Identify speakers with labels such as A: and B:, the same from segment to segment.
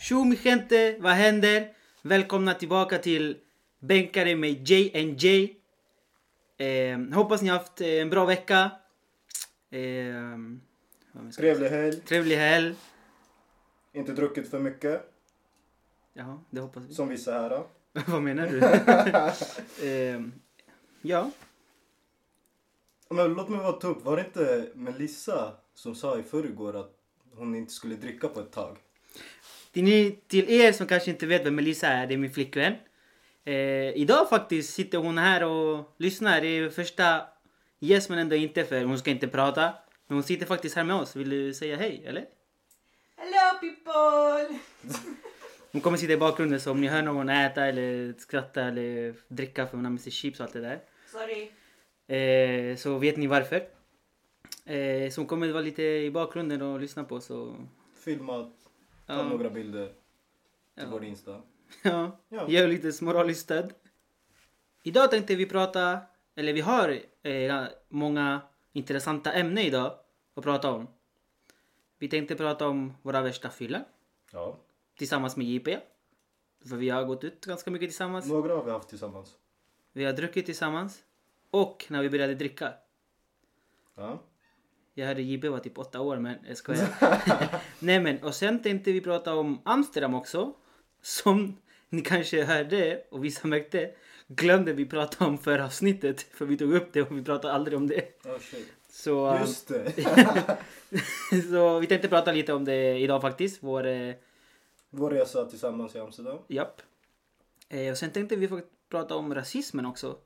A: Tjo mi gente, vad händer? Välkomna tillbaka till Bänkare med JNJ. Eh, hoppas ni har haft eh, en bra vecka. Eh, vad ska-
B: Trevlig helg.
A: trevlig helg.
B: Inte druckit för mycket,
A: Jaha, det hoppas vi.
B: som vissa här. då.
A: vad menar du? eh, ja,
B: Men låt mig bara ta upp, var det inte Melissa som sa i förrgår att hon inte skulle dricka på ett tag?
A: till, ni, till er som kanske inte vet vem Melissa är, det är min flickvän. Eh, idag faktiskt sitter hon här och lyssnar. Det är första gäst men ändå inte för hon ska inte prata. Men hon sitter faktiskt här med oss. Vill du säga hej eller?
C: Hello people!
A: Hon kommer sitta i bakgrunden så om ni hör någon äta eller skratta eller dricka för hon har med sig chips och allt det där.
C: Sorry.
A: Eh, så vet ni varför. Eh, så hon kommer vara lite i bakgrunden och lyssna på så...
B: Filmat, ta
A: Ja.
B: några bilder till
A: Ja.
B: vår Insta.
A: Ja,
B: Ja.
A: ge lite moraliskt stöd. Idag tänkte vi prata, eller vi har eh, många intressanta ämnen idag att prata om. Vi tänkte prata om våra värsta fyllor
B: Ja.
A: tillsammans med JP. För vi har gått ut ganska mycket tillsammans.
B: Några har vi haft tillsammans.
A: Vi har druckit tillsammans. Och när vi började dricka.
B: Ja.
A: Jag hörde JB var typ åtta år men jag skojar. Nej men och sen tänkte vi prata om Amsterdam också. Som ni kanske hörde och vissa märkte glömde vi prata om förra avsnittet. För vi tog upp det och vi pratade aldrig om det.
B: Oh, shit.
A: Så, um,
B: Just det!
A: så vi tänkte prata lite om det idag faktiskt. Vår, eh,
B: Vår resa tillsammans i Amsterdam.
A: japp. Eh, och sen tänkte vi faktiskt prata om rasismen också.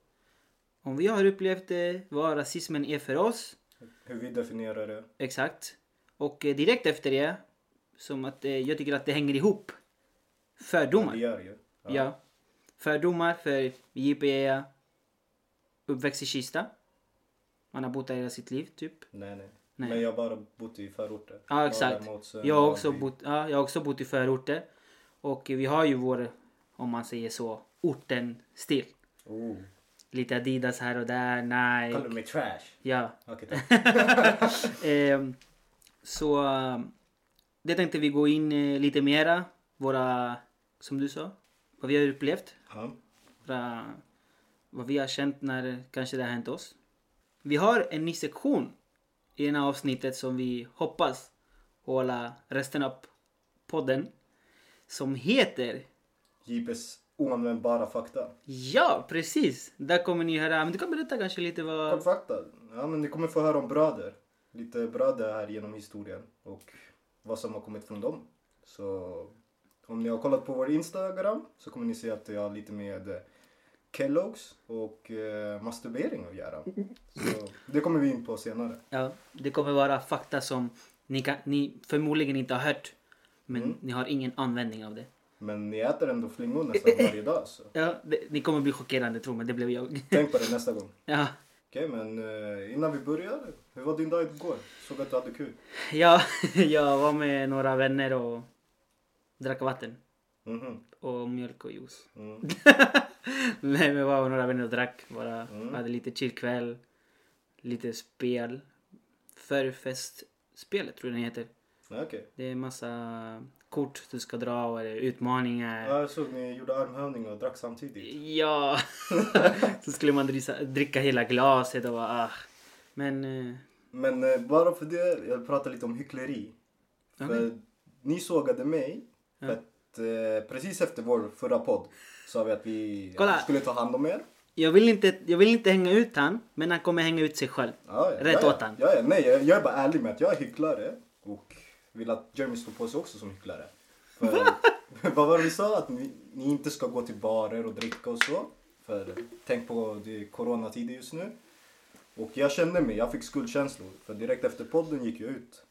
A: Om vi har upplevt det, vad rasismen är för oss.
B: Hur vi definierar det.
A: Exakt. Och eh, direkt efter det, som att eh, jag tycker att det hänger ihop. Fördomar.
B: Det
A: Ja.
B: gör ju.
A: Fördomar för JP är uppväxt i Kista. Man har bott där hela sitt liv, typ.
B: Nej, nej.
A: Nej.
B: Men jag har bara bott i förorter.
A: Ja, eh, exakt.
B: Norrlandsåsen,
A: Jag har, också
B: Dalby.
A: bott, ja, jag har också bott i förorter. Och vi har ju vår, om man säger så, orten-stil.
B: Oh.
A: Lite Adidas här och där,
B: Kallar du
A: Nike.
B: mig trash?
A: Ja.
B: Okej, tack.
A: Ehm, så ehm, det tänkte vi gå in eh, lite mera. Våra, som du sa, vad vi har upplevt.
B: Ja.
A: Våra, vad vi har känt när kanske det har hänt oss. Vi har en ny sektion i det här avsnittet som vi hoppas hålla resten av podden. Som heter
B: JP's oanvändbara fakta.
A: Ja, precis! Där kommer ni höra, men du kan berätta kanske lite
B: Kort
A: vad...
B: fakta. Ja, men ni kommer få höra om bröder. Lite bröder här genom historien och vad som har kommit från dem. Så om ni har kollat på vår Instagram så kommer ni se att jag har lite med eh, Kellogg's och eh, masturbering att göra. Så det kommer vi in på senare.
A: Ja, det kommer vara fakta som ni, kan, ni förmodligen inte har hört. Men ni har ingen användning av det.
B: Men ni äter ändå flingor nästan varje dag så
A: Ja, det, ni kommer bli chockerande, tro mig. Det blev jag.
B: tänk på det nästa gång.
A: Ja,
B: Okej, men eh, innan vi börjar. Hur var din dag igår? Såg att du hade kul.
A: ja, jag var med några vänner och drack vatten
B: Mhm.
A: och mjölk och juice.
B: Mm.
A: Nej, men jag var med några vänner och drack bara. Hade lite chillkväll, lite spel. Förfestspelet tror jag den heter.
B: Ja, Okej.
A: Det är massa kort du ska dra och det är utmaningar.
B: Ja, Jag såg ni gjorde armhävningar och drack samtidigt.
A: Ja. så skulle man drisa, dricka hela glaset och bara ah. Men eh,
B: Men eh, bara för det, jag pratar lite om hyckleri. För ni sågade mig för att eh, precis efter vår förra podd sa vi att vi
A: Kolla.
B: att vi skulle ta hand om er.
A: jag vill, inte, jag vill inte hänga ut han, men han kommer hänga ut sig själv.
B: Ja, ja,
A: Rätt
B: ja,
A: åt han.
B: Ja, ja, nej, jag, jag är bara ärlig med att jag är hycklare och vill att Jeremy står på sig också som hycklare. För, vad var det vi sa? Att ni, ni inte ska gå till barer och dricka och så. För tänk på det är coronatider just nu. Och jag kände mig, jag fick skuldkänslor. För direkt efter podden gick jag ut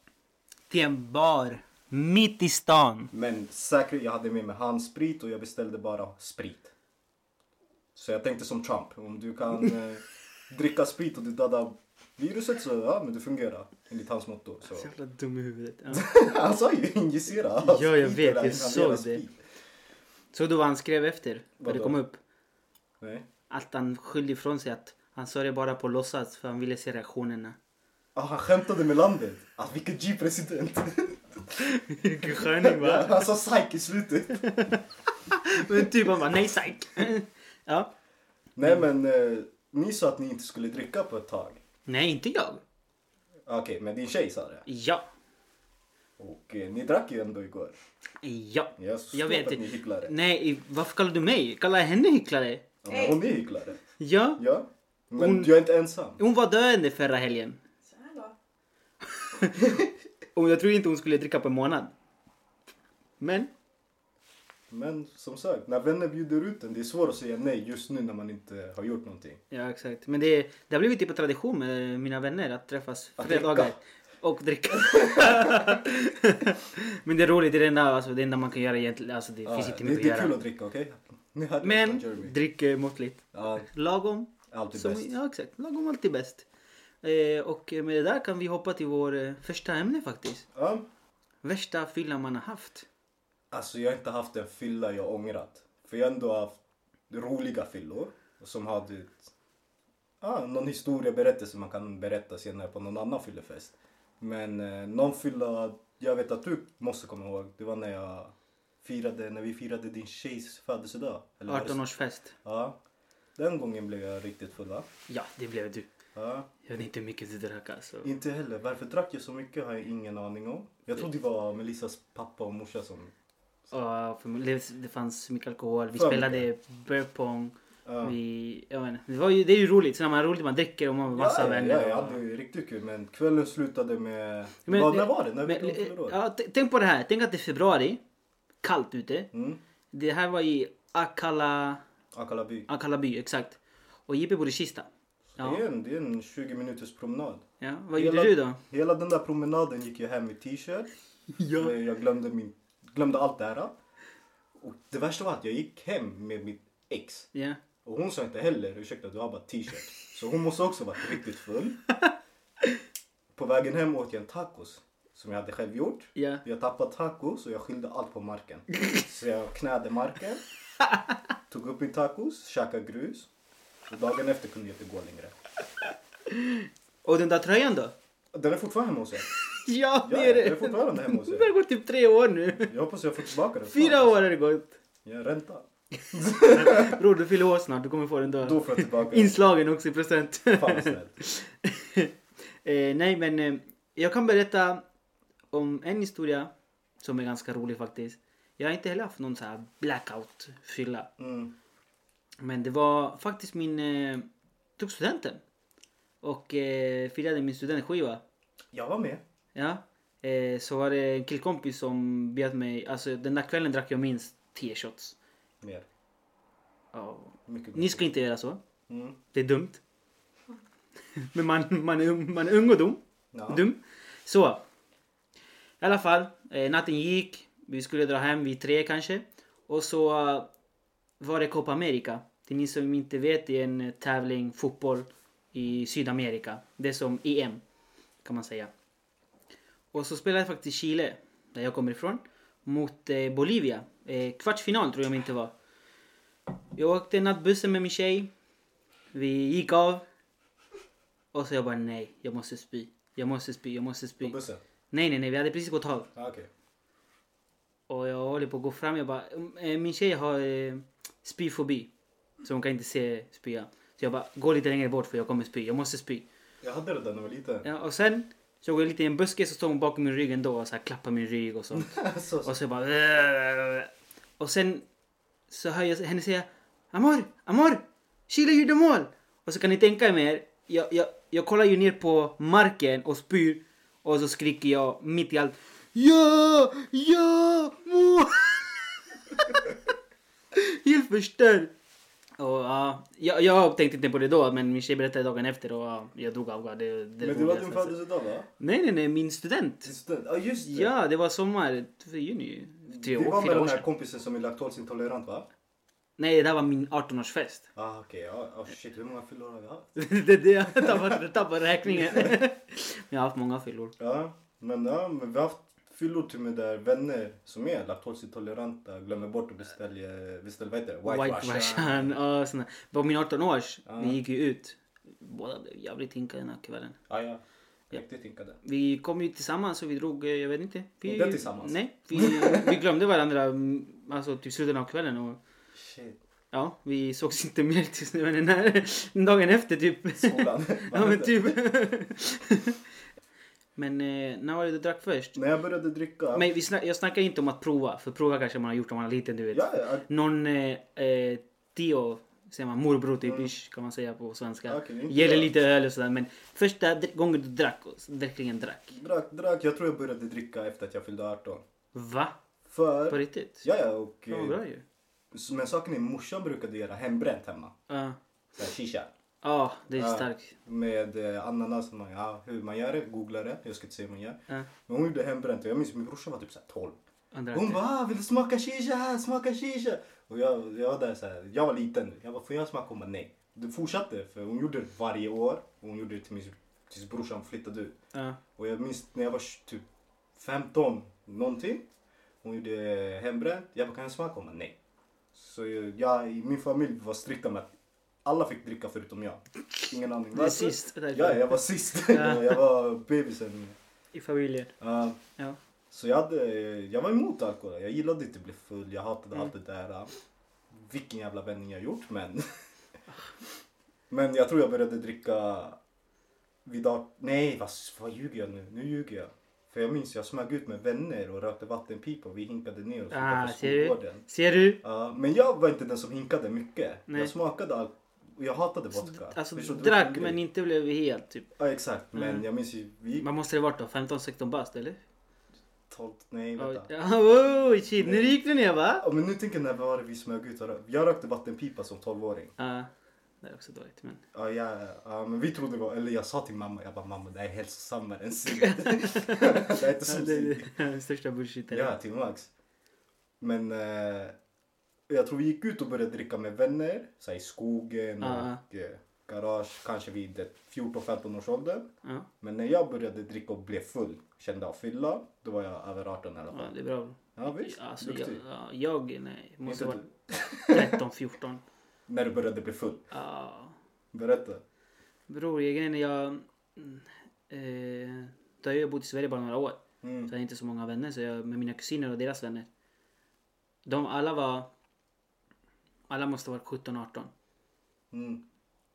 A: Till en bar. Mitt i stan.
B: Men säkert, jag hade med mig handsprit och jag beställde bara sprit. Så jag tänkte som Trump, om du kan eh, dricka sprit och du dödar viruset så ja, men det fungerar. Enligt hans motto. Så.
A: Så jävla dum i huvudet. Ja.
B: Han sa ju injicera.
A: Ja, jag
B: sprit
A: vet,
B: eller
A: jag
B: inhalera
A: såg det.
B: sprit.
A: Så då vad han skrev efter, när det
B: Vadå?
A: kom upp.
B: Nej.
A: Att han skyllde ifrån sig att han sa det bara på låtsas för han ville se reaktionerna.
B: Ah, han skämtade med landet. Ah, vilket G-president.
A: Vilken sköning va?
B: Han sa psyk i slutet.
A: Men typ han bara nej psyk. Ja.
B: Nej men, eh, ni sa att ni inte skulle dricka på ett tag.
A: Nej inte jag.
B: Okej, men din tjej sa det.
A: Ja.
B: Och eh, ni drack ju ändå igår.
A: Ja.
B: Jag har så
A: Jag
B: jag
A: vet
B: vet att ni är
A: inte.
B: hycklare.
A: Nej i- varför kallar du mig? Kallar jag henne hycklare?
B: Ja, men hon är hycklare.
A: Ja.
B: Ja. Men jag är inte ensam.
A: Hon var döende förra helgen.
C: Så här då.
A: Och jag tror inte hon skulle dricka på en månad. Men.
B: Men som sagt, när vänner bjuder ut en, det är svårt att säga nej just nu när man inte har gjort någonting.
A: Ja exakt. Men det, det har blivit typ en tradition med mina vänner att träffas
B: Att
A: fredagar.
B: dricka.
A: Och dricka. Men det är roligt, det är det enda, alltså, det enda man kan göra egentligen. Alltså, det
B: Ja,
A: finns
B: ja.
A: inte
B: det,
A: mycket
B: det är
A: att
B: kul
A: göra.
B: att dricka, okej? Ni hade
A: Men
B: utan Jeremy.
A: drick eh, måttligt.
B: Ja,
A: Lagom.
B: alltid
A: Som,
B: bäst.
A: ja exakt, lagom alltid bäst. Eh, och med det där kan vi hoppa till vår eh, första ämne faktiskt.
B: Ja.
A: Värsta fyllan man har haft.
B: Alltså jag har inte haft en fylla jag ångrat. För jag har ändå haft roliga fyllor. Som hade ett, ah, någon historieberättelse man kan berätta senare på någon annan fyllefest. Men eh, någon fylla jag vet att du måste komma ihåg. Det var när jag firade, när vi firade din tjejs födelsedag. Eller vad det-
A: 18-årsfest.
B: Ja. Den gången blev jag riktigt full va?
A: Ja, det blev du.
B: Ja.
A: Jag vet inte hur mycket du drack alltså.
B: Inte heller. Varför drack jag så mycket har jag ingen aning om. Jag tror det var Melissas pappa och morsa som...
A: Ja, för det- det fanns mycket alkohol. Vi
B: För
A: spelade burpong.
B: Ja.
A: Vi, jag vet inte, det, var ju, det är ju roligt. Så när man har roligt man dricker och man har massa
B: ja,
A: vänner.
B: Ja, jag
A: och-
B: hade ju riktigt kul men kvällen slutade med...
A: Men-
B: Vad, när var det? När
A: men- eh,
B: vi fyllde år?
A: ja, t- tänk på det här. Tänk att det är februari. Kallt ute.
B: Mm.
A: Det här var i Akalla,
B: Akalla by.
A: Akalla by, exakt. Och JP bor i Kista. Ja.
B: Det, är en, det är en 20 minuters promenad.
A: ja. Vad
B: Hela-
A: gjorde du då?
B: Hela den där promenaden gick jag hem i t-shirt.
A: Ja.
B: Eh, Jag glömde, min, glömde allt det här. Och det värsta var att jag gick hem med mitt ex.
A: Ja.
B: Och hon sa inte heller ursäkta du har bara t-shirt. Så hon måste också varit riktigt full. På vägen hem åt jag en tacos. Som jag hade själv gjort.
A: Ja.
B: Jag tappade tacos och jag skyllde allt på marken. Så jag knäde marken, tog upp min tacos, käkade grus. Och dagen efter kunde jag inte gå längre.
A: Och den där tröjan då?
B: Den är fortfarande hemma hos er.
A: Ja,
B: Ja,
A: det är
B: den är
A: det.
B: fortfarande hemma hos
A: Det
B: er.
A: börjar gå typ tre år nu.
B: Jag hoppas jag får tillbaka den.
A: Fyra
B: snart.
A: år har det gått.
B: Ja, ränta.
A: Bror, du fyller år snart. Du kommer få den då.
B: Då får jag tillbaka den.
A: Inslagen också i present.
B: Fan vad snällt.
A: eh, nej, men eh, jag kan berätta om en historia som är ganska rolig faktiskt. Jag har inte heller haft någon så här blackout-fylla.
B: Mm.
A: Men det var faktiskt min... Eh, tog studenten. Och eh, firade min studentskiva.
B: Jag var med.
A: Ja. Eh, så var det en killkompis som bjöd mig... Alltså den där kvällen drack jag minst 10 shots.
B: Mer.
A: Ja.
B: Mycket mer.
A: Ni ska inte göra så.
B: Mm.
A: Det är dumt. Men man, man, är, ung- man är ung och dum.
B: Ja.
A: dum. Så. I alla fall, eh, natten gick. Vi skulle dra hem vid tre kanske. Och så eh, var det Copa America. Till ni som inte vet, det är en eh, tävling, fotboll i Sydamerika. Det är som EM, kan man säga. Och så spelade faktiskt Chile, där jag kommer ifrån, mot eh, Bolivia. Eh, kvartsfinal tror jag inte var. Jag åkte nattbussen med min tjej. Vi gick av. Och så jag bara nej, jag måste spy. Jag måste spy, jag måste spy.
B: På bussen?
A: Nej, nej, nej, vi hade precis gått av.
B: Ja, Ah, okej.
A: Och jag håller på att gå fram. Jag bara, eh, min tjej har eh, spyfobi. Så hon kan inte se spya. Så jag bara, gå lite längre bort för jag kommer spy. Jag måste spy.
B: Jag hade det där när jag var liten.
A: Ja, och sen så går jag lite i en buske så står hon bakom min rygg ändå och så här klappar min rygg och sånt.
B: så, så.
A: Och så bara... "Äh." Och sen så hör jag henne säga Amor, Amor! Chile gjorde mål! Och så kan ni tänka er mer, jag, jag, jag kollar ju ner på marken och spyr och så skriker jag mitt i allt Ja! Ja! Mål! Helt förstörd! Och ja, jag, jag tänkte inte på det då men min tjej berättade dagen efter och ja, jag drog av. Det, det
B: Men det var din
A: roligaste.
B: födelsedag va?
A: Nej nej nej, min student!
B: Ja just det.
A: Ja, det var sommar. för Juni. Typ. Tre
B: det var
A: år,
B: med
A: fyra år
B: den här
A: sedan.
B: kompisen som är laktosintolerant va?
A: Nej, det här var min 18-årsfest.
B: Ah, okej. Ja, ja, shit, hur många fyllor har vi haft?
A: det är det jag tappar, jag tappar räkningen. Men jag har haft många fyllor.
B: Ja, men, ja, men vi har haft fyllor till med där vänner som är laktosintoleranta glömmer bort att beställa, beställa vad heter det? White, Russian.
A: Russian och såna. På min 18 års,
B: Ja.
A: vi gick ju ut. Båda blev jävligt hinkade den här kvällen.
B: Ja, ja.
A: Ja.
B: Riktigt hinkade.
A: Vi kom ju tillsammans och vi drog, eh, jag vet inte. Vi,
B: Inte tillsammans.
A: Nej, vi, vi glömde varandra mm, alltså typ slutet av kvällen och
B: Shit.
A: ja, vi sågs inte mer tills nu, men när, dagen efter typ.
B: Skolan.
A: ja men typ. men eh, när var det du drack först?
B: När jag började dricka.
A: Men vi snack, jag snackar inte om att prova, för prova kanske man har gjort om man är liten du vet.
B: Ja, ja.
A: Någon eh, eh, tio, säger man, morbror typ, ish, kan man säga på svenska.
B: Okej, inte
A: Gäller
B: jag.
A: lite öl och sådär men första dr- gången du drack, och s- verkligen drack.
B: Drack, drack. Jag tror jag började dricka efter att jag fyllde 18.
A: Va? På
B: För...
A: riktigt?
B: Ja, ja. Och,
A: Fan vad
B: eh,
A: bra ju.
B: men saken är, morsan brukade göra hembränt hemma.
A: Ja,
B: Så här, shisha.
A: Ja, det är
B: Ja.
A: starkt.
B: Med eh, ananas. och man- Ja, hur man gör det, googla det. Jag ska inte säga hur man gör.
A: Ja,
B: Men hon gjorde hembränt och jag minns min brorsa var typ så här 12.
A: han drack
B: Hon
A: det.
B: bara ah, “vill du smaka shisha här? Smaka shisha!” Och jag, jag var där så här, jag var liten. Jag bara “får jag smaka?” Hon bara “nej”. Det fortsatte för hon gjorde det varje år. Och hon gjorde det till min, tills brorsan flyttade ut.
A: Ja.
B: Och jag minns när jag var typ 15 någonting. Hon gjorde hembränt. Jag bara “kan jag smaka?” Hon bara “nej”. Så jag, jag, i min familj var strikta med att alla fick dricka förutom jag. Ingen aning
A: Du är sist därför.
B: Ja, jag var sist.
A: Ja.
B: jag var bebisen.
A: I familjen.
B: Ja.
A: Ja.
B: Så jag, hade, jag var emot alkohol. Jag gillade inte att bli full. Jag hatade
A: Mm.
B: allt det där. Vilken jävla vändning jag gjort men. men jag tror jag började dricka vid art- Nej vad, vad ljuger jag nu? Nu ljuger jag. För jag minns jag smög ut med vänner och rökte vattenpipa och vi hinkade ner oss
A: Ah,
B: utanför
A: ser du?
B: skolgården.
A: Ser du?
B: Ja, men jag var inte den som hinkade mycket.
A: Nej.
B: Jag smakade allt och jag hatade vodka.
A: Alltså
B: Förstår du? Det var
A: drack
B: en grej.
A: men inte blev helt typ.
B: Ja exakt men
A: Mm.
B: jag minns ju, vi gick
A: Man måste det varit då? 15-16 bast eller?
B: 12, nej
A: Ja,
B: vänta.
A: oh, shit. Nu gick du ner va?
B: Ja, men nu tänker jag när var det vi smög ut och rö- Jag rökte vattenpipa som 12-åring.
A: Ja, det är också dåligt men.
B: Ja, jag, ja, men vi trodde det var, eller jag sa till mamma, jag bara mamma det här är hälsosammare än cigarett. det är inte
A: Ja,
B: som
A: det
B: cigg.
A: är den största bullshit.
B: Ja, till max. Men eh, jag tror vi gick ut och började dricka med vänner, så här, i skogen
A: Ja.
B: och eh, garage, kanske vid ett 14-15 års ålder.
A: Ja,
B: Men när jag började dricka och blev full, kände av fylla, då var jag över 18 i alla
A: ja,
B: fall.
A: det är bra.
B: Ja, visst,
A: Alltså, jag,
B: duktig.
A: ja, jag, nej, måste
B: Inte
A: vara 13-14.
B: När du började bli full,
A: Ja.
B: berätta.
A: Bror, jag- grejen är jag... mm, Eh, då har jag bott i Sverige bara några år.
B: Mm.
A: Så jag har inte så många vänner. Så jag med mina kusiner och deras vänner. De alla var... Alla måste ha varit 17-18.
B: Mm.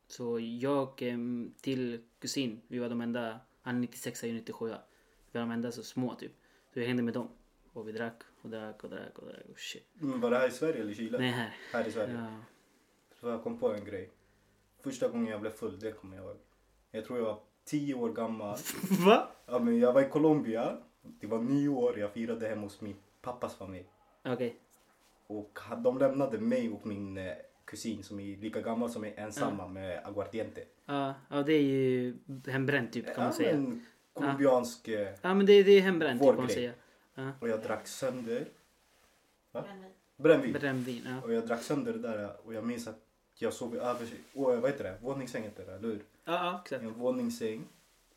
A: Så jag em, till kusin, vi var de enda. Han är 96 och jag är 97. Vi var de enda så små typ. Så jag hängde med dem. Och vi drack och drack och drack och drack. Och shit.
B: Men var det här i Sverige eller Chile?
A: Nej här.
B: Här i Sverige.
A: Ja.
B: Så jag kom på en grej. Första gången jag blev full, det kommer jag ihåg. Jag tror jag var tio år gammal.
A: Va?
B: Ja, men jag var i Colombia. Det var nyår, jag firade hemma hos min pappas familj.
A: Okej.
B: Och han- de lämnade mig och min eh, kusin som är lika gammal som mig ensamma med aguardiente.
A: Ja, ja, det är ju hembränt typ kan man
B: Ja,
A: säga.
B: men colombiansk... eh,
A: Ja men det, det är hembränt typ,
B: Vår
A: kan man
B: grej.
A: säga. Ja.
B: Och jag drack sönder
C: Brännvin.
B: brännvin.
A: Brännvin, ja.
B: Och jag drack sönder det där eh, och jag minns att jag sov i över... Åh, vad heter det? Våningssäng heter det, eller hur?
A: Ja, ja exakt.
B: i en våningssäng.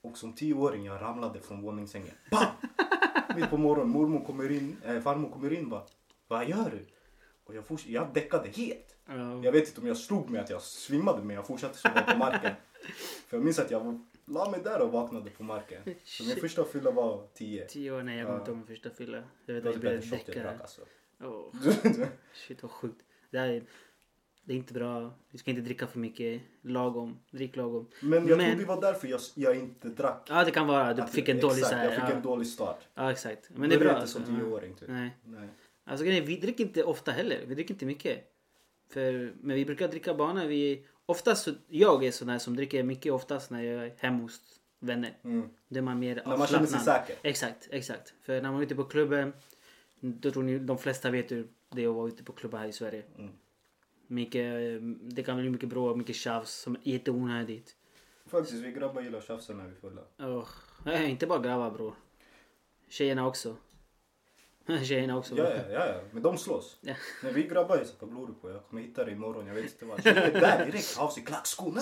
B: Och som tioåring jag ramlade från våningssängen. Bam! Mitt på morgonen, mormor kommer in, eh, farmor kommer in bara. Vad gör du? Och jag, forts- jag däckade helt.
A: Ja.
B: Jag vet inte om jag slog mig att jag svimmade men jag fortsatte sova på marken. För jag minns att jag la mig där och vaknade på marken. Så min första fylla var tio.
A: Tio år, nej jag kommer inte ihåg min första fylla. Jag vet
B: Det var
A: att
B: typ
A: jag
B: den
A: blev
B: shot jag drack
A: däckare.
B: alltså.
A: Åh, shit vad sjukt. Det här är, det är inte bra. Vi ska inte dricka för mycket. Lagom. Drick lagom.
B: Men jag tror
A: Men-
B: det var därför jag, jag inte drack.
A: Ja det kan vara. Du
B: Att-
A: fick en dålig
B: exakt,
A: så här,
B: Jag fick
A: ja.
B: en dålig start.
A: ja exakt. Men det är bra.
B: inte som
A: alltså. Ja.
B: tioåring typ.
A: Nej.
B: Nej.
A: Alltså grejen är, vi dricker inte ofta heller. Vi dricker inte mycket. För, men vi brukar dricka bara när vi... Oftast, så- jag är sån här som dricker mycket oftast när jag är hemma hos vänner.
B: Mm.
A: Då är man mer
B: När man känner sig
A: avslappnad.
B: säker.
A: Exakt, exakt. För när man är ute på klubben, då tror ni de flesta vet hur det är att vara ute på klubbar här i Sverige.
B: Mm.
A: Mycket, eh, det kan bli mycket bråk, mycket tjafs som är jätteonödigt.
B: Faktiskt, vi grabbar gillar att tjafsa när vi är fulla.
A: Oh. Nej, inte bara grabbar bror. Tjejerna också. Tjejerna också.
B: Ja,
A: bror.
B: ja, ja, ja, men de slås.
A: Ja.
B: När vi grabbar är så vad glor du på? Jag kommer hitta dig imorgon, jag vet inte vad. Tjejer där direkt, av sig klackskorna.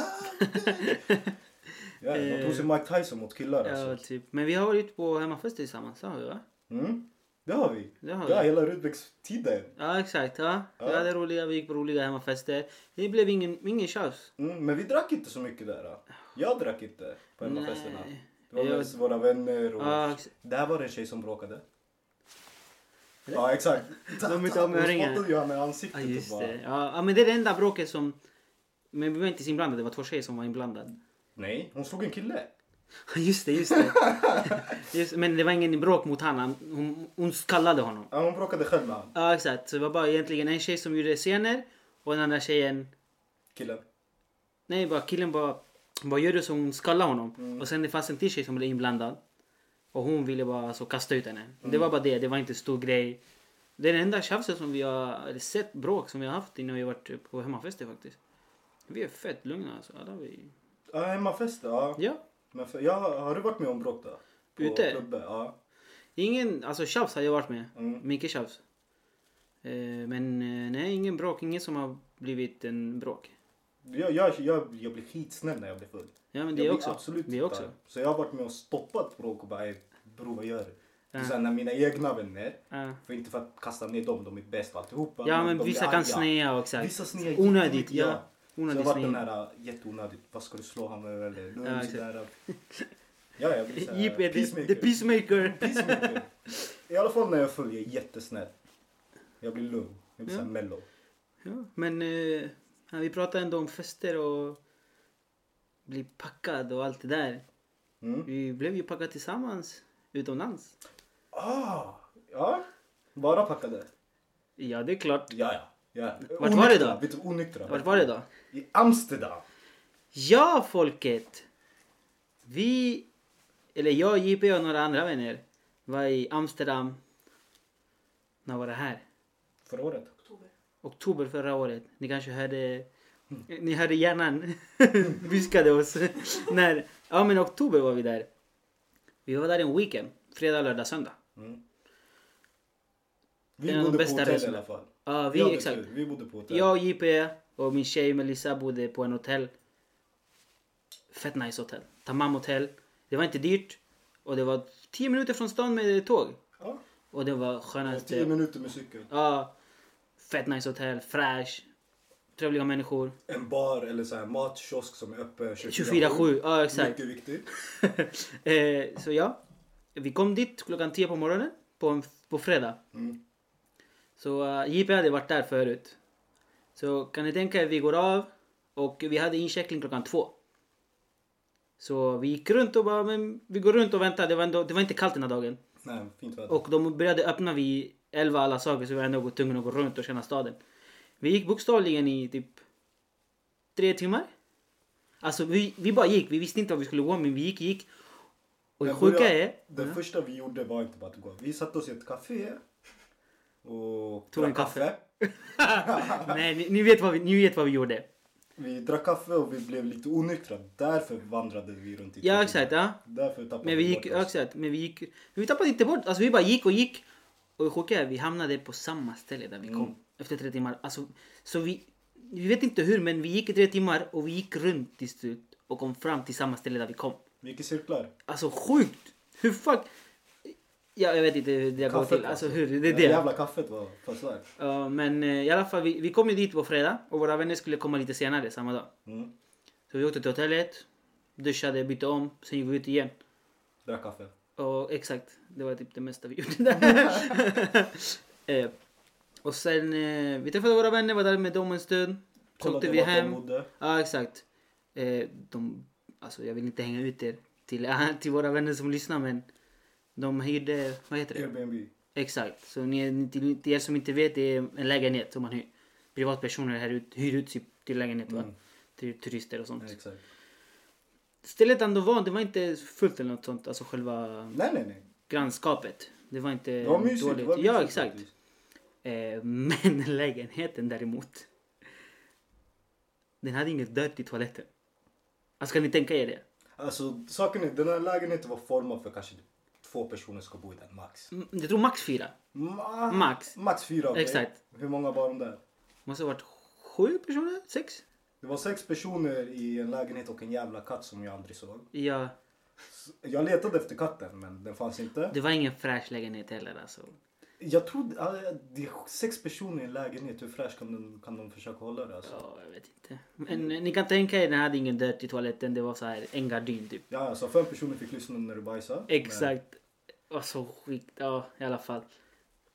B: Ja, de tog sig Mike Tyson mot killar
A: Ja,
B: alltså.
A: typ. Men vi har varit på hemmafester tillsammans, det har vi va?
B: Mm, det har vi.
A: Det har
B: Ja,
A: vi.
B: hela Rudbecks-tiden.
A: Ja, exakt. Ja. Vi
B: Ja.
A: hade roliga, vi gick på roliga hemmafester. Det blev ingen, ingen tjafs.
B: Mm, men vi drack inte så mycket där. Då. Jag drack inte på hemmafesterna.
A: Nej.
B: Det var
A: Jag-
B: mest våra vänner och...
A: Ja, ex-
B: Där var det en tjej som bråkade. Ja, exakt.
A: De är inte av med
B: Hon
A: öringar.
B: spottade ju henne i ansiktet
A: Ja,
B: och
A: just
B: bara...
A: det. Ja, ja, men det är det enda bråket som... Men vi var inte så inblandade, det var två tjejer som var inblandade.
B: Nej, hon slog en kille.
A: Ja, Just det, just det. Just, men det var ingen bråk mot honom. Hon, hon kallade honom.
B: Ja, hon bråkade själv med han.
A: Ja, exakt. Så det var bara egentligen en tjej som gjorde scener och den andra tjejen...
B: Killen.
A: Nej, bara killen bara... Vad gör du? Så hon skallade honom. Och sen det fanns en till tjej som blev inblandad. Och hon ville bara så kasta ut henne. Det var bara det. Det var inte stor grej. Det är den enda tjafset som vi har eller sett bråk som vi har haft innan vi varit på hemmafester faktiskt. Vi är fett lugna alltså. Alla vi...
B: Ja, hemmafest. Ja.
A: Ja.
B: Men för, ja, har du varit med om bråk då? På
A: Ute?
B: Klubbe, ja.
A: Ingen, alltså tjafs har jag varit med.
B: Mm.
A: Mycket tjafs. Eh, men eh, nej, ingen bråk. Ingen som har blivit en bråk.
B: Jag, jag, jag, jag blir skitsnäll när jag blir full.
A: Ja men det
B: jag
A: är
B: blir
A: också.
B: Absolut
A: det är
B: inte
A: också.
B: arg. Så jag har varit med och stoppat bråk och bara "Ey, bror vad gör du?
A: Ja.
B: Och sen när mina egna vänner,
A: Ja.
B: för inte för att kasta ner dem, de är bäst och alltihopa.
A: Ja men
B: de blir
A: vissa kan
B: arga.
A: snea också.
B: Vissa snear
A: Onödigt.
B: jättemycket,
A: Ja.
B: Så jag
A: Onödigt
B: har varit den
A: snea.
B: här äh, jätteonödigt, vad ska du slå honom över eller? Lugn
A: Ja,
B: ja,
A: exakt.
B: sådär. Ja, jag blir såhär,
A: Jeep är the, the
B: eh, peacemaker.
A: peacemaker.
B: Peacemaker. I alla fall när jag är full, jag är jättesnäll. Jag blir lugn, jag blir
A: Ja.
B: såhär mellow.
A: Ja, men eh, ja, vi pratar ändå om fester och bli packad och allt det där.
B: Mm.
A: Vi blev ju packade tillsammans utomlands.
B: Ah, ja. Bara packade.
A: Ja det är klart.
B: Ja, ja. ja.
A: Vart var det
B: Onyktra,
A: då?
B: Vet du, onyktra.
A: Vart var det då?
B: I Amsterdam.
A: Ja, folket! Vi, eller jag, JP och några andra vänner var i Amsterdam. När var det här?
B: Förra året.
C: Oktober.
A: Oktober förra året. Ni kanske hörde... Ni hörde hjärnan viskade oss. när, ja, men i oktober var vi där. Vi var där en weekend. Fredag, lördag, söndag.
B: Vi
A: Det är de
B: bodde på
A: bästa
B: hotell
A: resorna.
B: i alla fall.
A: Ja,
B: Jag
A: vi,
B: hade
A: exakt.
B: tur, Vi bodde på hotell.
A: Jag, JP och min tjej Melissa bodde på en hotell. Fett nice hotell. Tamam hotell. Det var inte dyrt. Och det var 10 minuter från stan med tåg.
B: Ja.
A: Och det var
B: Och Tio
A: skönaste.
B: minuter med cykel.
A: Ja. Fett nice hotell. Fräsch. Trevliga människor.
B: En bar eller så här matkiosk som är öppen
A: 24-7. Ja exakt.
B: Mycket viktigt.
A: Eh, så ja. Vi kom dit klockan 10 på morgonen. På, en, på fredag.
B: Mm.
A: Så eh, JP hade varit där förut. Så kan ni tänka er, vi går av och vi hade incheckning klockan två. Så vi gick runt och bara, men vi går runt och väntar. Det var, ändå, det var inte kallt den här dagen.
B: Nej, fint väder.
A: Och de började öppna vid 11 alla saker så vi var ändå tvungna att gå runt och känna staden. Vi gick bokstavligen i typ tre timmar. Alltså vi, vi bara gick, vi visste inte vad vi skulle gå men vi gick, gick. Och det
B: Men börja-
A: sjuka är...
B: Det
A: Ja.
B: första vi gjorde var inte bara att gå. Vi satte oss i ett café. Och
A: Tog en
B: drack
A: kaffe. Nej, ni, ni, vet vad vi, ni vet vad vi gjorde.
B: Vi drack kaffe och vi blev lite onyktra. Därför vandrade vi runt i två
A: Ja
B: timmar.
A: exakt, ja.
B: Därför tappade
A: Men vi gick,
B: bort oss.
A: ja, exakt, men vi gick, men vi tappade inte bort, alltså vi bara gick och gick. Och det sjuka är, vi hamnade på samma ställe där vi kom efter tre timmar. Alltså, så vi, vi vet inte hur men vi gick i tre timmar och vi gick runt till slut och kom fram till samma ställe där vi kom.
B: Vi gick i cirklar.
A: Alltså sjukt! Hur fuck? Ja, jag vet inte hur det går
B: Kaffet,
A: till. Alltså hur, det är
B: Det
A: det.
B: jävla kaffet var förstört.
A: Ja, men eh, i alla fall, vi, vi kom ju dit på fredag och våra vänner skulle komma lite senare samma dag.
B: Mm.
A: Så vi åkte till hotellet, duschade, bytte om, sen gick vi ut igen.
B: Drack kaffe.
A: Ja, exakt. Det var typ det mesta vi gjorde där. eh, och sen, eh, vi träffade våra vänner, var där med dem en stund. Så åkte
B: Kollade
A: vi
B: vart de
A: hem.
B: bodde.
A: Ja, exakt. Eh, de, alltså jag vill inte hänga ut er till, till våra vänner som lyssnar men de hyrde, vad heter det?
B: Airbnb.
A: Exakt. Så ni, till, till er som inte vet, det är en lägenhet som man hyr. Privatpersoner här ut, hyr ut sig till lägenhet va?
B: Mm.
A: Till turister och sånt.
B: Ja, exakt.
A: Stället ändå var, det var inte fullt eller något sånt, alltså själva
B: Nej, nej, nej.
A: grannskapet. Det var inte
B: Det var mysigt.
A: Eh, dåligt.
B: Det var
A: ja,
B: mysigt
A: exakt.
B: faktiskt.
A: Eh, men lägenheten däremot. Den hade inget dörr till toaletten. Alltså kan ni tänka er det?
B: Alltså, saken är, den här lägenheten var formad för kanske två personer ska bo i den max.
A: Mm, Jag tror max fyra.
B: Ma-
A: Max.
B: Max fyra. okej.
A: Exakt.
B: Hur många var de där?
A: Måste ha varit sju personer? Sex?
B: Det var sex personer i en lägenhet och en jävla katt som jag aldrig såg.
A: Ja.
B: Jag letade efter katten men den fanns inte.
A: Det var ingen fräsch lägenhet heller alltså.
B: Jag tror ja, det är sex personer i en lägenhet. Hur fräsch kan de, kan de försöka hålla det? Alltså?
A: Ja, jag vet inte. Men
B: Mm.
A: eh, ni kan tänka er, den hade ingen dört i toaletten. Det var så här en gardin typ.
B: Ja, alltså fem personer fick lyssna när du bajsade.
A: Exakt. Och så skit. Ja, i alla fall.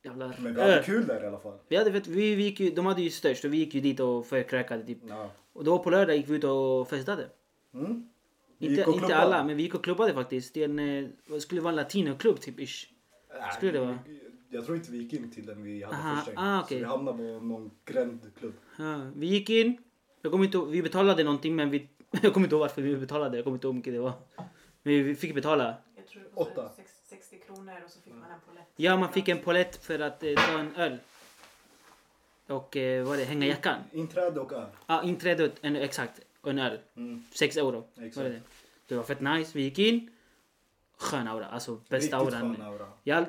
A: Jävla
B: Men, men vi hade
A: rör.
B: kul där i alla fall.
A: Vi hade fett, vi, vi gick ju, de hade ju störst och vi gick ju dit och förkräkade typ.
B: Ja.
A: Och då på lördag gick vi ut och festade.
B: Mm. Vi
A: Inte,
B: gick och
A: inte
B: klubbade.
A: alla, men vi gick och klubbade faktiskt. Det är en, eh, vad skulle vara en latinoklubb typ ish.
B: Nej,
A: Skulle det vara?
B: Jag tror inte vi gick in till den vi hade
A: Aha,
B: första
A: ah, okej.
B: Så vi hamnade på någon grändklubb.
A: Ja, vi gick in. Jag kommer inte, ihåg- vi betalade någonting men vi, jag kommer inte ihåg varför vi betalade. Jag kommer inte ihåg hur mycket det var. Men vi fick betala.
C: Jag tror det kostade
B: Åtta.
C: sex- 60 kronor och så fick man en polett.
A: Ja, man fick en polett för att eh, ta en öl. Och eh, vad var det, hänga jackan.
B: Inträde och öl.
A: Ja, inträdet, en, exakt. Och en öl.
B: Mm.
A: sex euro.
B: Exakt.
A: Var det, det? det var fett nice. Vi gick in. Skön aura. Alltså bästa
B: Riktigt
A: auran.
B: skön aura.
A: Jag,
B: Alla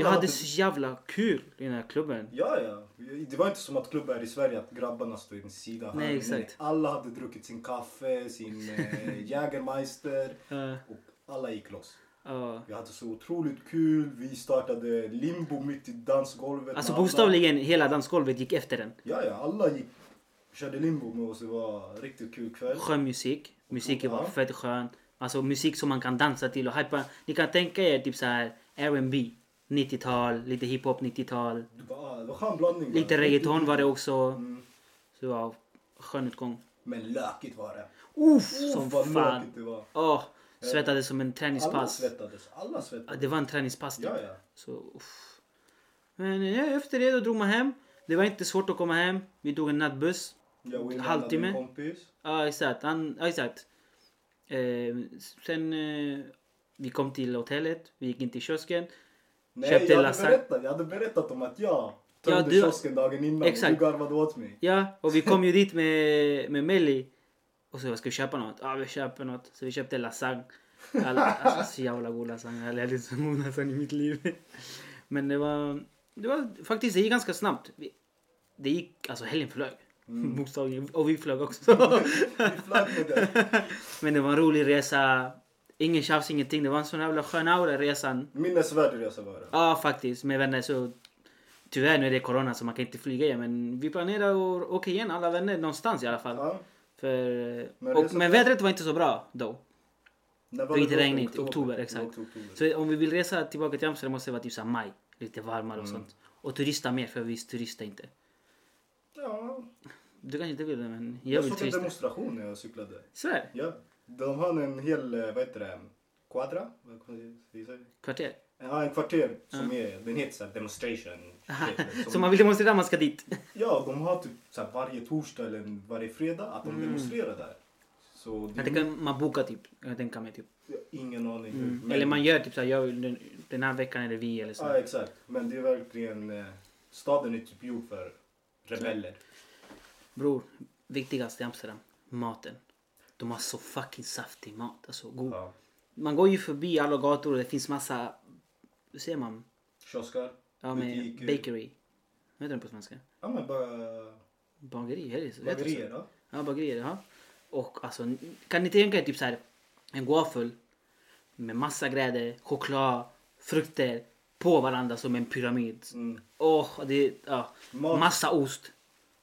A: jag hade
B: hade-
A: så jävla kul i den här klubben.
B: Ja, ja. Det var inte som att klubbar i Sverige, att grabbarna stod vid sin sida. här.
A: Nej, exakt.
B: Alla hade druckit sin kaffe, sin eh, Jägermeister
A: Ja,
B: och alla gick loss.
A: Eh, ja.
B: Vi hade så otroligt kul. Vi startade limbo mitt i dansgolvet.
A: Alltså
B: med alla.
A: bokstavligen hela dansgolvet gick efter den.
B: Ja, ja. Alla gick, körde limbo med oss. Det var en riktigt kul kväll.
A: Skön musik. Musiken var
B: Ja.
A: fett skön. Alltså musik som man kan dansa till och hypa. Ni kan tänka er typ så här R&B 90-tal, lite hiphop 90-tal.
B: Det var, det var skön blandning.
A: Lite reggaeton var det också.
B: Mm.
A: Så det var skön utgång.
B: Men lökigt var det.
A: Uff,
B: Uff,
A: som
B: vad
A: fan.
B: lökigt det var.
A: Åh, svettades som en
B: Alla
A: träningspass.
B: svettades. Alla
A: Ja,
B: svettades.
A: Det var en träningspass typ.
B: Ja, ja.
A: Så, uff. Men ja, efter det då drog man hem. Det var inte svårt att komma hem. Vi tog en nattbuss.
B: Jag och William
A: Halvtimme.
B: hade en kompis.
A: Ja, exakt. Han, ja, exakt. Eh, sen eh, vi kom till hotellet. Vi gick in till kiosken.
B: Nej,
A: Köpte
B: jag hade,
A: lasagne.
B: berättat, jag hade berättat om att jag tömde
A: Ja, du-
B: kiosken dagen innan
A: Exakt.
B: och du garvade åt mig.
A: Ja, och vi kom ju dit med, med Melli. Och så ska vi köpa något? Ja, vi köper något. Så vi köpte lasagne. Alla, alltså så jävla god lasagne. Jag har aldrig ätit så god lasagne i mitt liv. Men det var, det var faktiskt, det gick ganska snabbt. Vi, det gick, alltså helgen flög. Bokstavligen. Och vi flög också.
B: Vi flög med det.
A: Men det var en rolig resa. Ingen tjafs, ingenting. Det var en sån jävla skön aura resan.
B: Minnesvärd resa var det.
A: Ja, faktiskt. Med vänner så... Tyvärr nu är det corona så man kan inte flyga igen. Men vi planerar att åka igen alla vänner någonstans i alla fall.
B: Ja.
A: För,
B: Men
A: men, och,
B: resan-
A: men vädret var inte så bra då.
B: När
A: Det var lite
B: då?
A: regnigt. Oktober, exakt.
B: Det var oktober.
A: Så om vi vill resa tillbaka till Amsterdam måste det vara typ såhär maj. Lite varmare och
B: Mm.
A: sånt. Och turista mer för vi turistar inte.
B: Ja,
A: Du kanske inte vill det men jag,
B: jag
A: vill
B: såg en
A: turista.
B: demonstration när jag cyklade.
A: Svär!
B: Ja. De har en hel, eh, vad heter det, quadra? Vad kan man säga?
A: Kvarter.
B: Ja, en kvarter som är, den heter såhär demonstration. Typ,
A: Så man vill demonstrera man ska dit.
B: Ja, de har typ så här varje torsdag eller varje fredag att de demonstrerar där. Så det
A: Men Mm. det kan man boka typ. Jag kan tänka mig typ.
B: ingen aning hur. men-
A: Eller man gör typ såhär, jag vill den, den här veckan är det vi eller så.
B: Mm. Ja, exakt. Men det är verkligen... Eh, staden är typ gjord för rebeller.
A: Bror, viktigast i Amsterdam, maten. De har så fucking saftig mat. Alltså, god.
B: Ja.
A: Man går ju förbi alla gator och det finns massa, hur säger man?
B: Kiosker,
A: Ja, med
B: butiker.
A: bakery. Vad heter den på svenska?
B: Ja, men bara...
A: Bageri, är det så? Heter det så?
B: Bagerier då.
A: Ja, bagerier. Ja. Och alltså, kan ni tänka er typ så här, en gaffel med massa grädde, choklad, frukter på varandra som en pyramid.
B: Mm.
A: Åh, det, ja.
B: Mat.
A: Massa ost.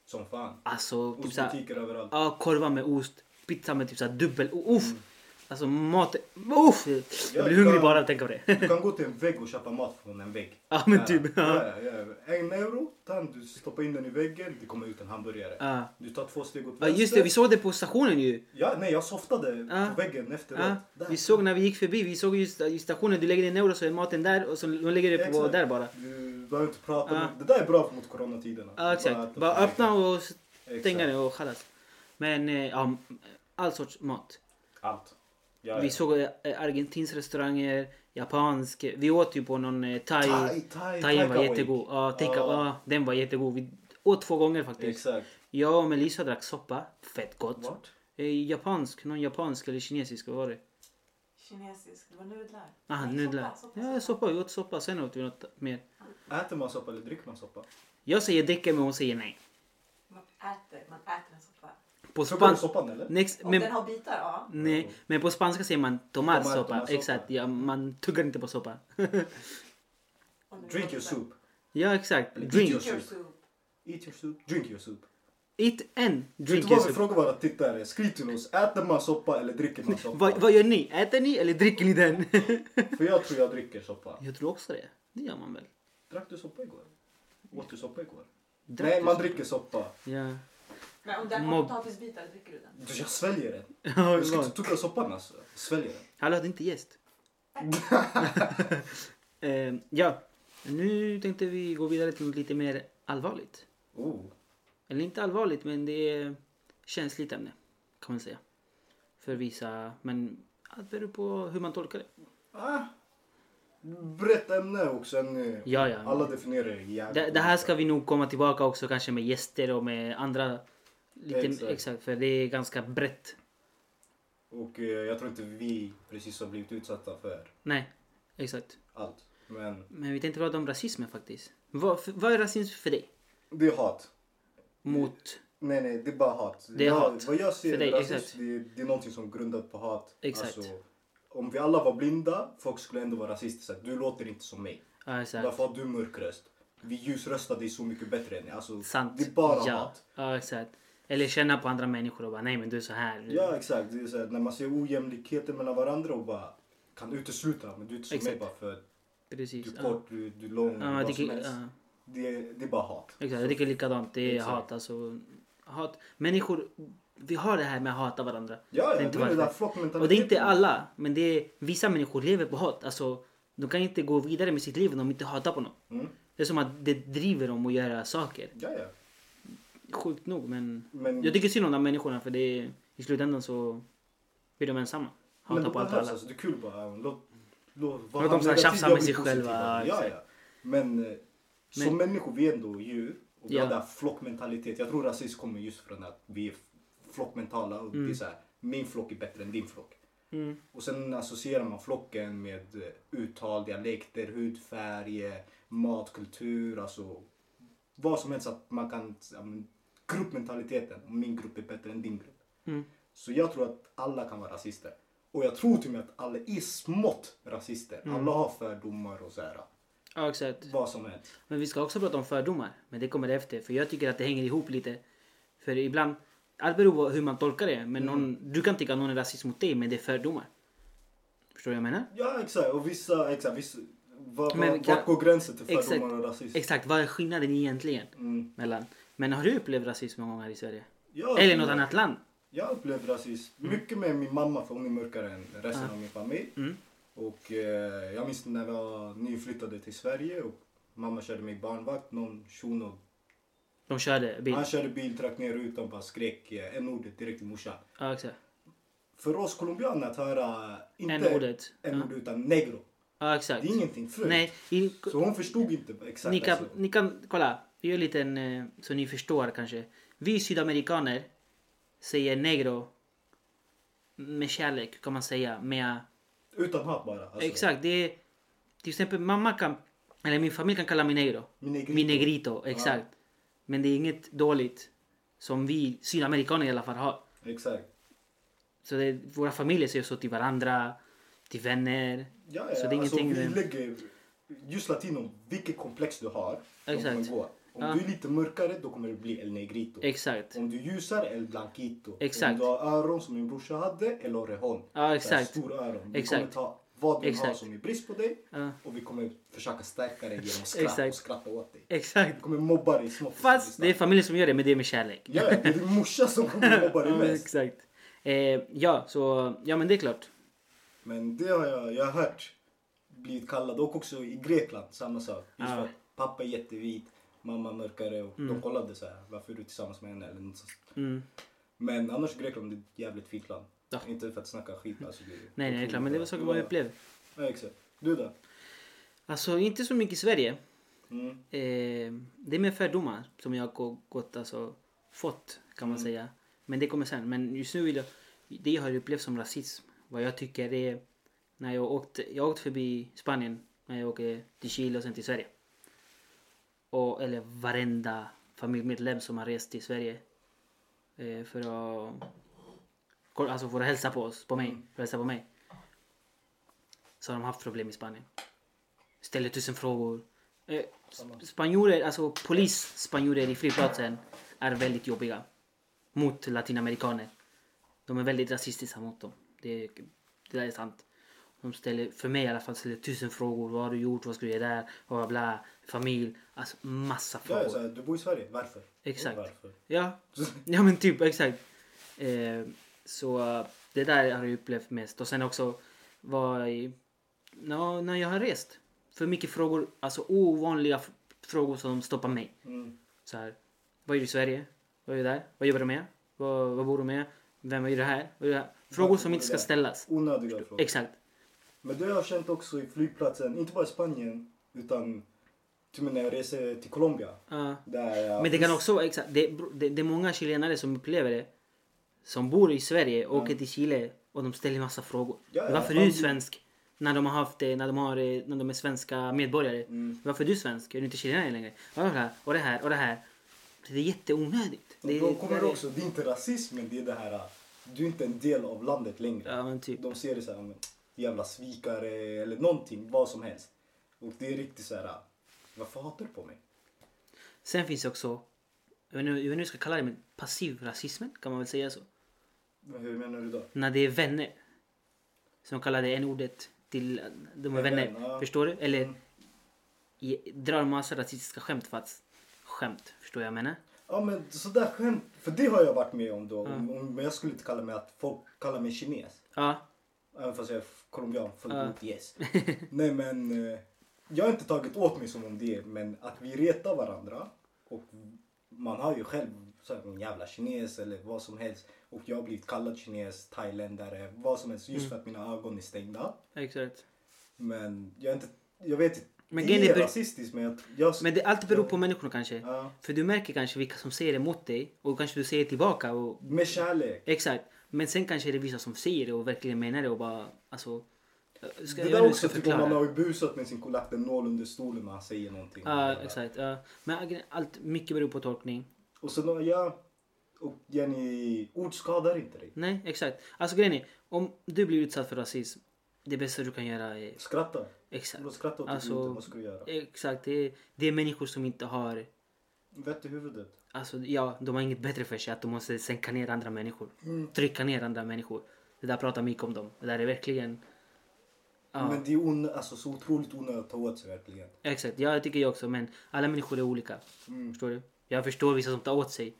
B: Som fan.
A: Alltså, typ så här,
B: Ostbutiker överallt.
A: Ja, korvar med ost. Pizza med typ så här dubbel... Oh, uff. Alltså mat... Uff. Jag blir
B: Ja,
A: hungrig
B: ja.
A: bara av att tänka på det.
B: Du Mm. kan gå till en vägg och köpa mat från en vägg.
A: Ja, men typ, ja.
B: Ja, ja, ja. En euro, den, du stoppar in den i väggen, det kommer ut en hamburgare.
A: Ja.
B: Du tar två steg åt
A: Ja, just det, vi såg det på stationen ju.
B: Ja, nej, jag softade
A: Ja.
B: på väggen efteråt.
A: Ja,
B: Där.
A: vi såg när vi gick förbi, vi såg just i stationen, du lägger din euro så är maten där och så de lägger det på
B: Exakt.
A: där bara.
B: Du behöver inte prata.
A: Ja.
B: med- Det där är bra mot coronatiderna.
A: Ja,
B: äta
A: exakt.
B: på
A: Bara
B: väggen.
A: öppna och stänga
B: Exakt.
A: det och kallas. Men eh, ja, all sorts mat.
B: Allt. Ja,
A: Vi
B: ja.
A: såg eh, argentinsk restauranger, japansk. Vi åt ju på någon eh, thai.
B: Thai- thai-
A: Thaien var
B: takeaway.
A: jättegod. Ja, take
B: Ja.
A: ja, den var jättegod. Vi åt två gånger faktiskt.
B: Exakt.
A: Jag och Melissa drack soppa. Fett gott.
B: Vart?
A: Eh, japansk, någon japansk eller kinesisk, vad var det?
C: Kinesisk. Det var nudlar.
A: Ah,
C: Nej,
A: nudlar.
C: soppa, soppa,
A: Ja, soppa. Vi åt soppa, sen åt vi något mer.
B: Äter man soppa eller dricker man soppa?
A: Jag säger dricka men hon säger nej.
C: Man äter, man äter en soppa.
A: På
B: Soppa
A: spanska...
B: soppan eller?
A: Next,
C: Om
A: men,
C: den har bitar, ja.
A: nej, men på spanska säger man tomar
B: Tomar-
A: soppa.
B: tomar soppa.
A: Exakt, ja, man tuggar inte på soppa.
C: Om den
B: Drink
C: har
B: your
C: bitar.
B: soup.
A: Ja, exakt.
B: Eller
A: Drink.
B: Your
C: Your
B: soup.
C: soup.
B: Eat your soup, drink your soup.
A: Eat and
B: Drink
A: drink your
B: Vet du vad vi
A: soup.
B: frågar våra tittare? Skriv till oss, äter man soppa eller dricker man soppa?
A: Vad, vad gör ni? Äter ni eller dricker ni den?
B: För jag tror jag dricker soppa.
A: jag tror också det. Det gör man väl?
B: Drack du soppa igår? Åt du soppa igår?
A: Drack
B: Nej,
A: du
B: man
A: soppa?
B: dricker soppa.
A: Ja.
C: Men om den har
A: Mob-
C: potatisbitar, dricker du den?
B: Du, Jag sväljer den.
A: Ja,
B: Jag ska
A: det
B: inte
A: var-
B: tugga soppan alltså. Jag Sväljer den.
A: Hallå, det är inte gäst. eh, ja, nu tänkte vi gå vidare till något lite mer allvarligt.
B: Oh.
A: Eller inte allvarligt, men det är känsligt ämne kan man säga. För vissa, men allt beror på hur man tolkar det.
B: Ah. Brett ämne och sen eh,
A: Ja, ja.
B: alla definierar det jävligt
A: Det, det här
B: olika.
A: ska vi nog komma tillbaka också kanske med gäster och med andra. Lite,
B: Exakt.
A: exakt. för det är ganska brett.
B: Och eh, jag tror inte vi precis har blivit utsatta för
A: Nej, exakt.
B: allt. Men
A: Men vi tänkte prata om rasismen faktiskt. Vad, för, vad är rasism för dig?
B: det är hat.
A: Mot...
B: Nej, nej, det är bara hat.
A: Det är
B: jag,
A: hat.
B: Vad jag
A: För
B: ser
A: dig,
B: är rasism,
A: exakt.
B: det, är- det är någonting som grundat på hat. Alltså,
A: Exakt.
B: om vi alla var blinda, folk skulle ändå vara rasistiska. Du låter inte som mig.
A: Ja, exakt.
B: Varför har du mörk röst? Vi ljusröstade är så mycket bättre än er. Alltså,
A: Sant.
B: Det är bara
A: ja.
B: hat.
A: Ja, exakt. Eller känna på andra människor och bara nej men du är så här.
B: Ja, exakt. Det är så här, när man ser ojämlikheter mellan varandra och bara kan utesluta. Men du är inte som
A: Exakt.
B: mig bara för att
A: Precis.
B: du är
A: ja.
B: kort, du, du är lång,
A: Ja, jag
B: vad som
A: tycker,
B: helst.
A: ja,
B: Det, det är bara hat.
A: exakt. Jag tycker likadant. Det är
B: Exakt.
A: hat alltså. Hat. Människor, vi har det här med att hata varandra.
B: Ja,
A: Det är
B: ja,
A: inte
B: det är det
A: varför.
B: där flockmentaliteten.
A: Och det är inte alla, men det är, vissa människor lever på hat. Alltså, de kan inte gå vidare med sitt liv om de inte hatar på någon.
B: Mm.
A: Det är som att det driver dem att göra saker.
B: Ja, ja.
A: Sjukt nog, men
B: Men,
A: jag tycker synd om de här människorna för det är, i slutändan så blir de ensamma.
B: men
A: Hatar
B: det
A: på allt och
B: behövs
A: alla.
B: alltså. Det är kul bara. ja, Låt, låt,
A: Låt dem så här tjafsa med sig själva,
B: Ja, ja.
A: exakt.
B: Men eh, som
A: Men-
B: människor, vi är ändå djur. Och vi
A: Ja.
B: har den här flockmentalitet. Jag tror rasism kommer just från att vi är flockmentala. Och Det är så här, min flock är bättre än din flock.
A: Mm.
B: Och sen associerar man flocken med eh, uttal, dialekter, hudfärg, eh, matkultur, alltså vad som helst. Att man kan, ja, men, gruppmentaliteten, min grupp är bättre än din grupp.
A: Mm.
B: Så jag tror att alla kan vara rasister. Och jag tror till och med att alla är smått rasister.
A: Mm.
B: Alla har fördomar och så här,
A: Ja, exakt.
B: vad som helst.
A: Men vi ska också prata om fördomar. Men det kommer efter. För jag tycker att det hänger ihop lite. För ibland, allt beror på hur man tolkar det.
B: Mm.
A: Men någon, du kan tycka att någon är rasist mot dig, men det är fördomar. Förstår du vad jag menar?
B: Ja exakt, och vissa, exakt, vissa, var,
A: Men
B: var,
A: kan-
B: vart går gränsen till
A: Exakt.
B: fördomar och rasism?
A: Exakt, vad är skillnaden egentligen?
B: Mm.
A: Mellan. Men har du upplevt rasism någon gång här i Sverige?
B: Jag
A: Eller
B: tror-
A: något annat Mm. land?
B: Jag upplevde rasism mycket med min mamma för hon är mörkare än resten av min familj.
A: Mm.
B: Och eh, jag minns när jag nyflyttade till Sverige och mamma körde mig barnvakt. Någon shuno,
A: De körde bil.
B: han körde bil, drack ner rutan och bara skrek eh, n-ordet direkt till morsan.
A: Ja, exakt.
B: För oss colombianer att höra inte
A: N-ordet.
B: n-ordet utan negro.
A: Ja,
B: Det
A: exakt.
B: är ingenting fult.
A: Nej, i,
B: Så hon förstod inte exakt.
A: ni, kan,
B: alltså.
A: ni kan kolla. Vi gör en liten, eh, så ni förstår kanske. Vi sydamerikaner säger negro med kärlek kan man säga. Med
B: Utan hat bara. Alltså.
A: Exakt, det är, till exempel mamma kan, eller min familj kan kalla mig negro.
B: Min negrito.
A: Min negrito, exakt. Men det är inget dåligt som vi sydamerikaner i alla fall har.
B: Exakt.
A: Så det, våra familjer säger så till varandra, till vänner.
B: Ja, ja.
A: Så det är
B: alltså,
A: ingenting
B: vi
A: med-
B: lägger, just latino, vilket komplex du har, de
A: Exakt.
B: kommer gå. Om
A: Ja.
B: du är lite mörkare, då kommer det bli el negrito.
A: Exakt.
B: Om du är ljusare, el blanquito.
A: Exakt.
B: Om du har öron som min brorsa hade, el orejón.
A: Ja, exakt.
B: Stora öron. Vi
A: Exakt.
B: kommer ta vad du har
A: Exakt.
B: som är brist på dig
A: Ja.
B: och vi kommer försöka stärka dig genom skratt
A: Exakt.
B: och skratta åt dig.
A: Exakt.
B: Vi kommer mobba dig smått.
A: Fast det är familjen som gör det, men det är med kärlek.
B: Ja, ja, det är din morsa som kommer mobba dig
A: Ja,
B: mest.
A: exakt. Eh, ja, så, ja men det är klart.
B: Men det har jag, jag har hört blivit kallad och också i Grekland samma sak. Just
A: Ja.
B: för att pappa är jättevit, mamma mörkare och de kollade så här, varför är du tillsammans med henne eller något sånt.
A: Mm.
B: Men annars Grekland är ett jävligt fint land.
A: Ja.
B: Inte för att snacka skit alltså. Det är
A: Nej, nej, det är klart. Men det var saker man upplevde.
B: Ja, exakt. Du då?
A: Alltså, inte så mycket i Sverige.
B: Mm.
A: Eh, det är mer fördomar som jag har gått, alltså, fått kan man säga. Men det kommer sen. Men just nu vill jag, det jag har upplevt som rasism. Vad jag tycker är när jag åkt, jag har åkt förbi Spanien när jag åker till Chile och sen till Sverige. Och, eller varenda familjemedlem som har rest till Sverige eh, för att kolla- alltså för att hälsa på oss, på mig,
B: Mm.
A: för att hälsa på mig. Så har de haft problem i Spanien. Ställer tusen frågor. Eh, sp- spanjorer, alltså polisspanjorer i flygplatsen är väldigt jobbiga mot latinamerikaner. De är väldigt rasistiska mot dem. Det, det där är sant. De ställer, för mig i alla fall, ställer tusen frågor. Vad har du gjort? Vad ska du göra där? Bla, bla, bla. Familj. Alltså massa
B: Ja,
A: frågor.
B: så här, du bor i Sverige, varför?
A: Exakt.
B: Varför?
A: Ja, ja men typ exakt. Eh, så eh, det där har jag upplevt mest. Och sen också var i, ja, när jag har rest. För mycket frågor, alltså ovanliga f- frågor som stoppar mig.
B: Mm.
A: Så här, vad gör du i Sverige? Vad gör du där? Vad jobbar du med? Vad, vad bor du med? Vem är du här? Vad gör du här? Frågor
B: Varför
A: som
B: bor
A: inte
B: du
A: ska
B: där? Oh.
A: ställas.
B: Onödiga frågor.
A: Exakt.
B: Men det har jag känt också i flygplatsen, inte bara i Spanien, utan till och med när jag reser till Colombia.
A: Ja.
B: Där jag,
A: Men det kan också, exakt, det, beror- det, det är många chilenare som upplever det. Som bor i Sverige, åker till Chile och de ställer massa frågor.
B: Ja, ja,
A: Varför
B: man
A: är du
B: blir-
A: svensk? När de har haft det, när de, har, eh, när de är svenska medborgare.
B: Mm.
A: Varför är du svensk? Är du inte chilenare längre? Ja, det här, och det här och det här. Det är jätteonödigt. Det,
B: De kommer
A: det-
B: också, det är inte rasism, men det är det här, äh, du är inte en del av landet längre.
A: Ja men typ.
B: De ser det så här, men, jävla svikare eller någonting, vad som helst. Och det är riktigt så här, äh, varför hatar du på mig?
A: Sen finns det också, jag vet inte jag vet inte hur jag ska kalla det, men passiv rasismen kan man väl säga så.
B: Men Hur menar du då?
A: När det är vänner. Som kallar det n-ordet till de är
B: Ja,
A: vänner.
B: vän, ja.
A: Förstår du? Eller
B: Mm.
A: i, drar massa rasistiska skämt för att skämt. Förstår jag vad jag menar?
B: Ja men sådär skämt, för det har jag varit med om då. Om, om, men jag skulle inte kalla mig att folk kallar mig kines.
A: Ja.
B: Även fast jag är colombian, fullgod yes. Nej men, eh, jag har inte tagit åt mig som om det är, men att vi retar varandra och man har ju själv så här, en jävla kines eller vad som helst och jag har blivit kallad kines, thailändare, vad som helst
A: Mm.
B: just för att mina ögon är stängda.
A: Exakt.
B: Men jag, är inte, jag vet inte,
A: Men
B: det
A: grejen
B: är
A: är-
B: rasistiskt men jag... jag
A: Men det allt beror på människorna kanske.
B: Ja.
A: För du märker kanske vilka som säger det mot dig och kanske du säger tillbaka. Och,
B: med kärlek.
A: exakt. Men sen kanske det är vissa som säger det och verkligen menar det och bara alltså. jag Ska, jag vet inte
B: det där
A: hur jag
B: också
A: ska
B: tycker man
A: förklara.
B: har ju busat med sin kollakt en nål under stolen när han säger någonting.
A: Ja, exakt. ja. Men allt, mycket beror på tolkning.
B: Och så då, ja, och Jenny, ord skadar inte dig.
A: Nej, exakt. Alltså grejen är, om du blir utsatt för rasism, det bästa du kan göra är...
B: Skratta.
A: Exakt.
B: Låt skratta åt
A: Alltså-
B: alltså... vad ska du göra?
A: Exakt, det är, det är människor som inte har...
B: Vett i huvudet.
A: Alltså ja, de har inget bättre för sig att de måste sänka ner andra människor. Trycka ner andra människor. Det där pratar mycket om dem. Det där är verkligen... Ja,
B: Men det är on, alltså, så otroligt onödigt att ta åt sig verkligen.
A: exakt. Ja, det tycker jag också. Men alla människor är olika. Förstår du? Jag förstår vissa som tar åt sig.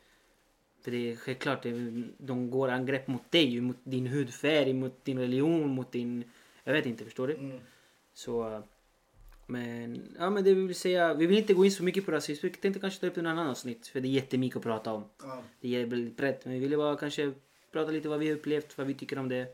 A: För det är självklart, det är, de går angrepp mot dig, mot din hudfärg, mot din religion, mot din... Jag vet inte, förstår du?
B: Mm.
A: Så... Men, ja men det vi vill säga, vi vill inte gå in så mycket på rasism. Vi tänkte kanske ta upp det i en annan avsnitt. För det är jättemycket att prata om.
B: Ja.
A: Det är väldigt brett. Men vi ville bara kanske prata lite vad vi har upplevt, vad vi tycker om det.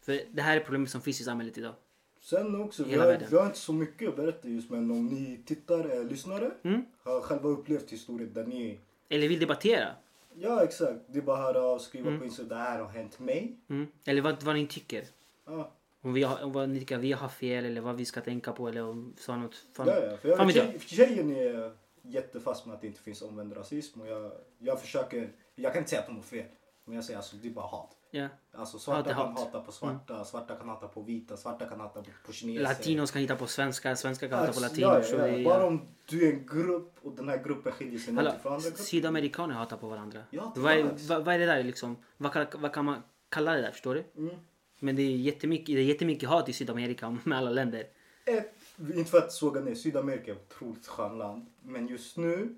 A: För det här är problemet som finns i samhället idag.
B: Sen också, vi
A: Hela
B: har,
A: världen.
B: vi har inte så mycket att berätta just men om ni tittare, eh, lyssnare
A: Mm.
B: har själva upplevt historier där ni...
A: Eller vill debattera.
B: Ja exakt, det är bara att höra av, skriva på Instagram, det här har hänt mig.
A: Mm. Eller vad, vad ni tycker.
B: Ja.
A: Om, vi har, om vad ni tycker att vi har fel eller vad vi ska tänka på eller om sa något. Fan,
B: Ja, ja. För jag,
A: fan vet jag.
B: tjej, tjejen är jättefast med att det inte finns omvänd rasism och jag, jag försöker, jag kan inte säga att de har fel. Men jag säger alltså det är bara hat.
A: Ja.
B: Alltså svarta
A: Hat är
B: kan
A: hat.
B: hata på svarta,
A: Mm.
B: svarta kan hata på vita, svarta kan hata på, på kineser.
A: Latinos kan hitta på svenskar, svenskar kan hitta på
B: eh. Alltså,
A: latinos.
B: Ja,
A: och
B: ja,
A: det
B: ja.
A: är-
B: Bara om du är en grupp och den här gruppen skiljer sig
A: Hallå,
B: något från andra grupper.
A: sydamerikaner hatar på varandra.
B: Ja,
A: vad, är,
B: tillbaks.
A: vad, vad är det där liksom? Vad kan, vad kan man kalla det där? Förstår du?
B: Mm.
A: Men det är jättemycket, det är jättemycket hat i Sydamerika med alla länder.
B: Ett, inte för att såga ner, Sydamerika är ett otroligt skönt land. Men just nu,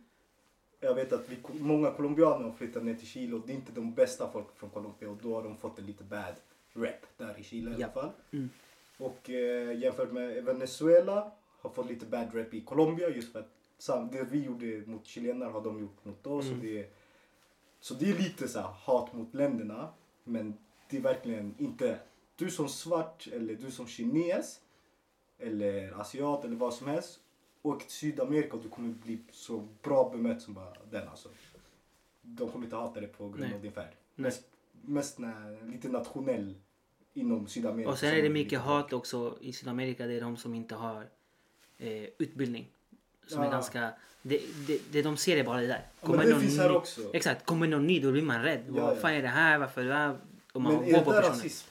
B: jag vet att vi, många colombianer har flyttat ner till Chile och det är inte de bästa folk från Colombia och då har de fått en lite bad rep där i Chile i
A: Ja. Mm.
B: alla fall. Och eh, jämfört med Venezuela har fått lite bad rep i Colombia just för att sam- det vi gjorde mot chilenare har de gjort mot oss.
A: Mm.
B: Och det, så det är lite så här, hat mot länderna men det är verkligen inte du som svart eller du som kines eller asiat eller vad som helst. Åk till Sydamerika och du kommer bli så bra bemött som bara den alltså. De kommer inte hata dig på grund
A: Nej.
B: av din färg.
A: Nej.
B: Mest, mest när, lite nationell inom Sydamerika.
A: Och sen
B: som
A: är det
B: blir
A: mycket
B: lite-
A: hat också i Sydamerika. Det är de som inte har eh, utbildning. Som
B: Ja.
A: är ganska... Det, det, det de ser är bara det där.
B: men det
A: någon
B: finns här
A: ny,
B: också.
A: Exakt, kommer någon ny då blir man rädd.
B: Ja,
A: Vad
B: ja.
A: fan är det här? Varför är det här? Och man
B: Men
A: går
B: är
A: på
B: det där
A: personen.
B: rasism?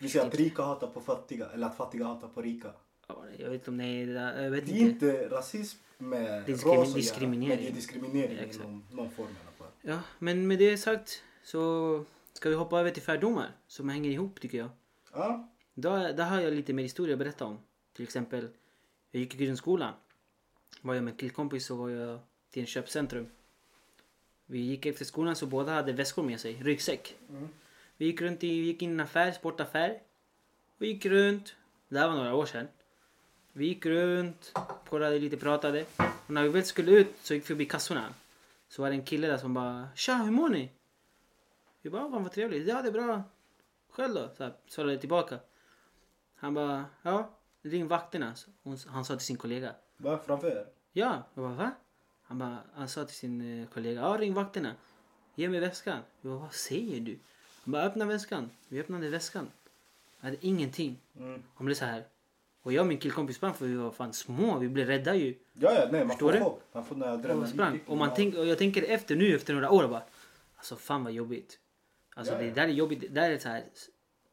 B: Vi säger att rika hatar på fattiga eller att fattiga hatar på rika.
A: vad var det? Jag vet inte om det är... Jag vet
B: Det är
A: inte.
B: inte rasism med
A: Diskrimi-
B: ras att göra, Men det är
A: diskriminering.
B: diskriminering
A: Ja,
B: i
A: exakt.
B: någon, någon form i alla fall.
A: Ja, men med det sagt så ska vi hoppa över till fördomar som hänger ihop tycker jag.
B: Ja,
A: Där, där har jag lite mer historia att berätta om. Till exempel, jag gick i grundskolan. Var jag med en killkompis så var jag till en köpcentrum. Vi gick efter skolan så båda hade väskor med sig, ryggsäck. Vi gick runt i, vi gick in i en affär, sportaffär. Vi gick runt, det här var några år sedan. Vi gick runt, kollade lite, pratade. Och när vi väl skulle ut så gick vi förbi kassorna. Så var det en kille där som bara “Tja, hur mår ni?” Vi bara “Fan vad trevligt, ja det är bra, själv då?” Så här, svarade jag tillbaka. Han bara “Ja, ring vakterna”. Så hon- Han sa till sin kollega.
B: va? Framför er?
A: Ja, jag bara va? Han, bara, han sa till sin eh, kollega, ja ring vakterna. Ge mig väskan. Jag bara, vad säger du? Han bara, öppna väskan. Vi öppnade väskan. Jag hade ingenting.
B: Mm.
A: Han blev så här. Och jag och min killkompis sprang för vi var fan små. Vi blev rädda ju.
B: Ja, ja, nej, man
A: Förstår
B: får
A: du?
B: chock. Man får
A: Och
B: nödrömmar.
A: sprang. Och, man tänk, och jag tänker efter nu efter några år bara. Alltså fan vad jobbigt. Alltså
B: Ja, ja.
A: det där är jobbigt. Det där är så här.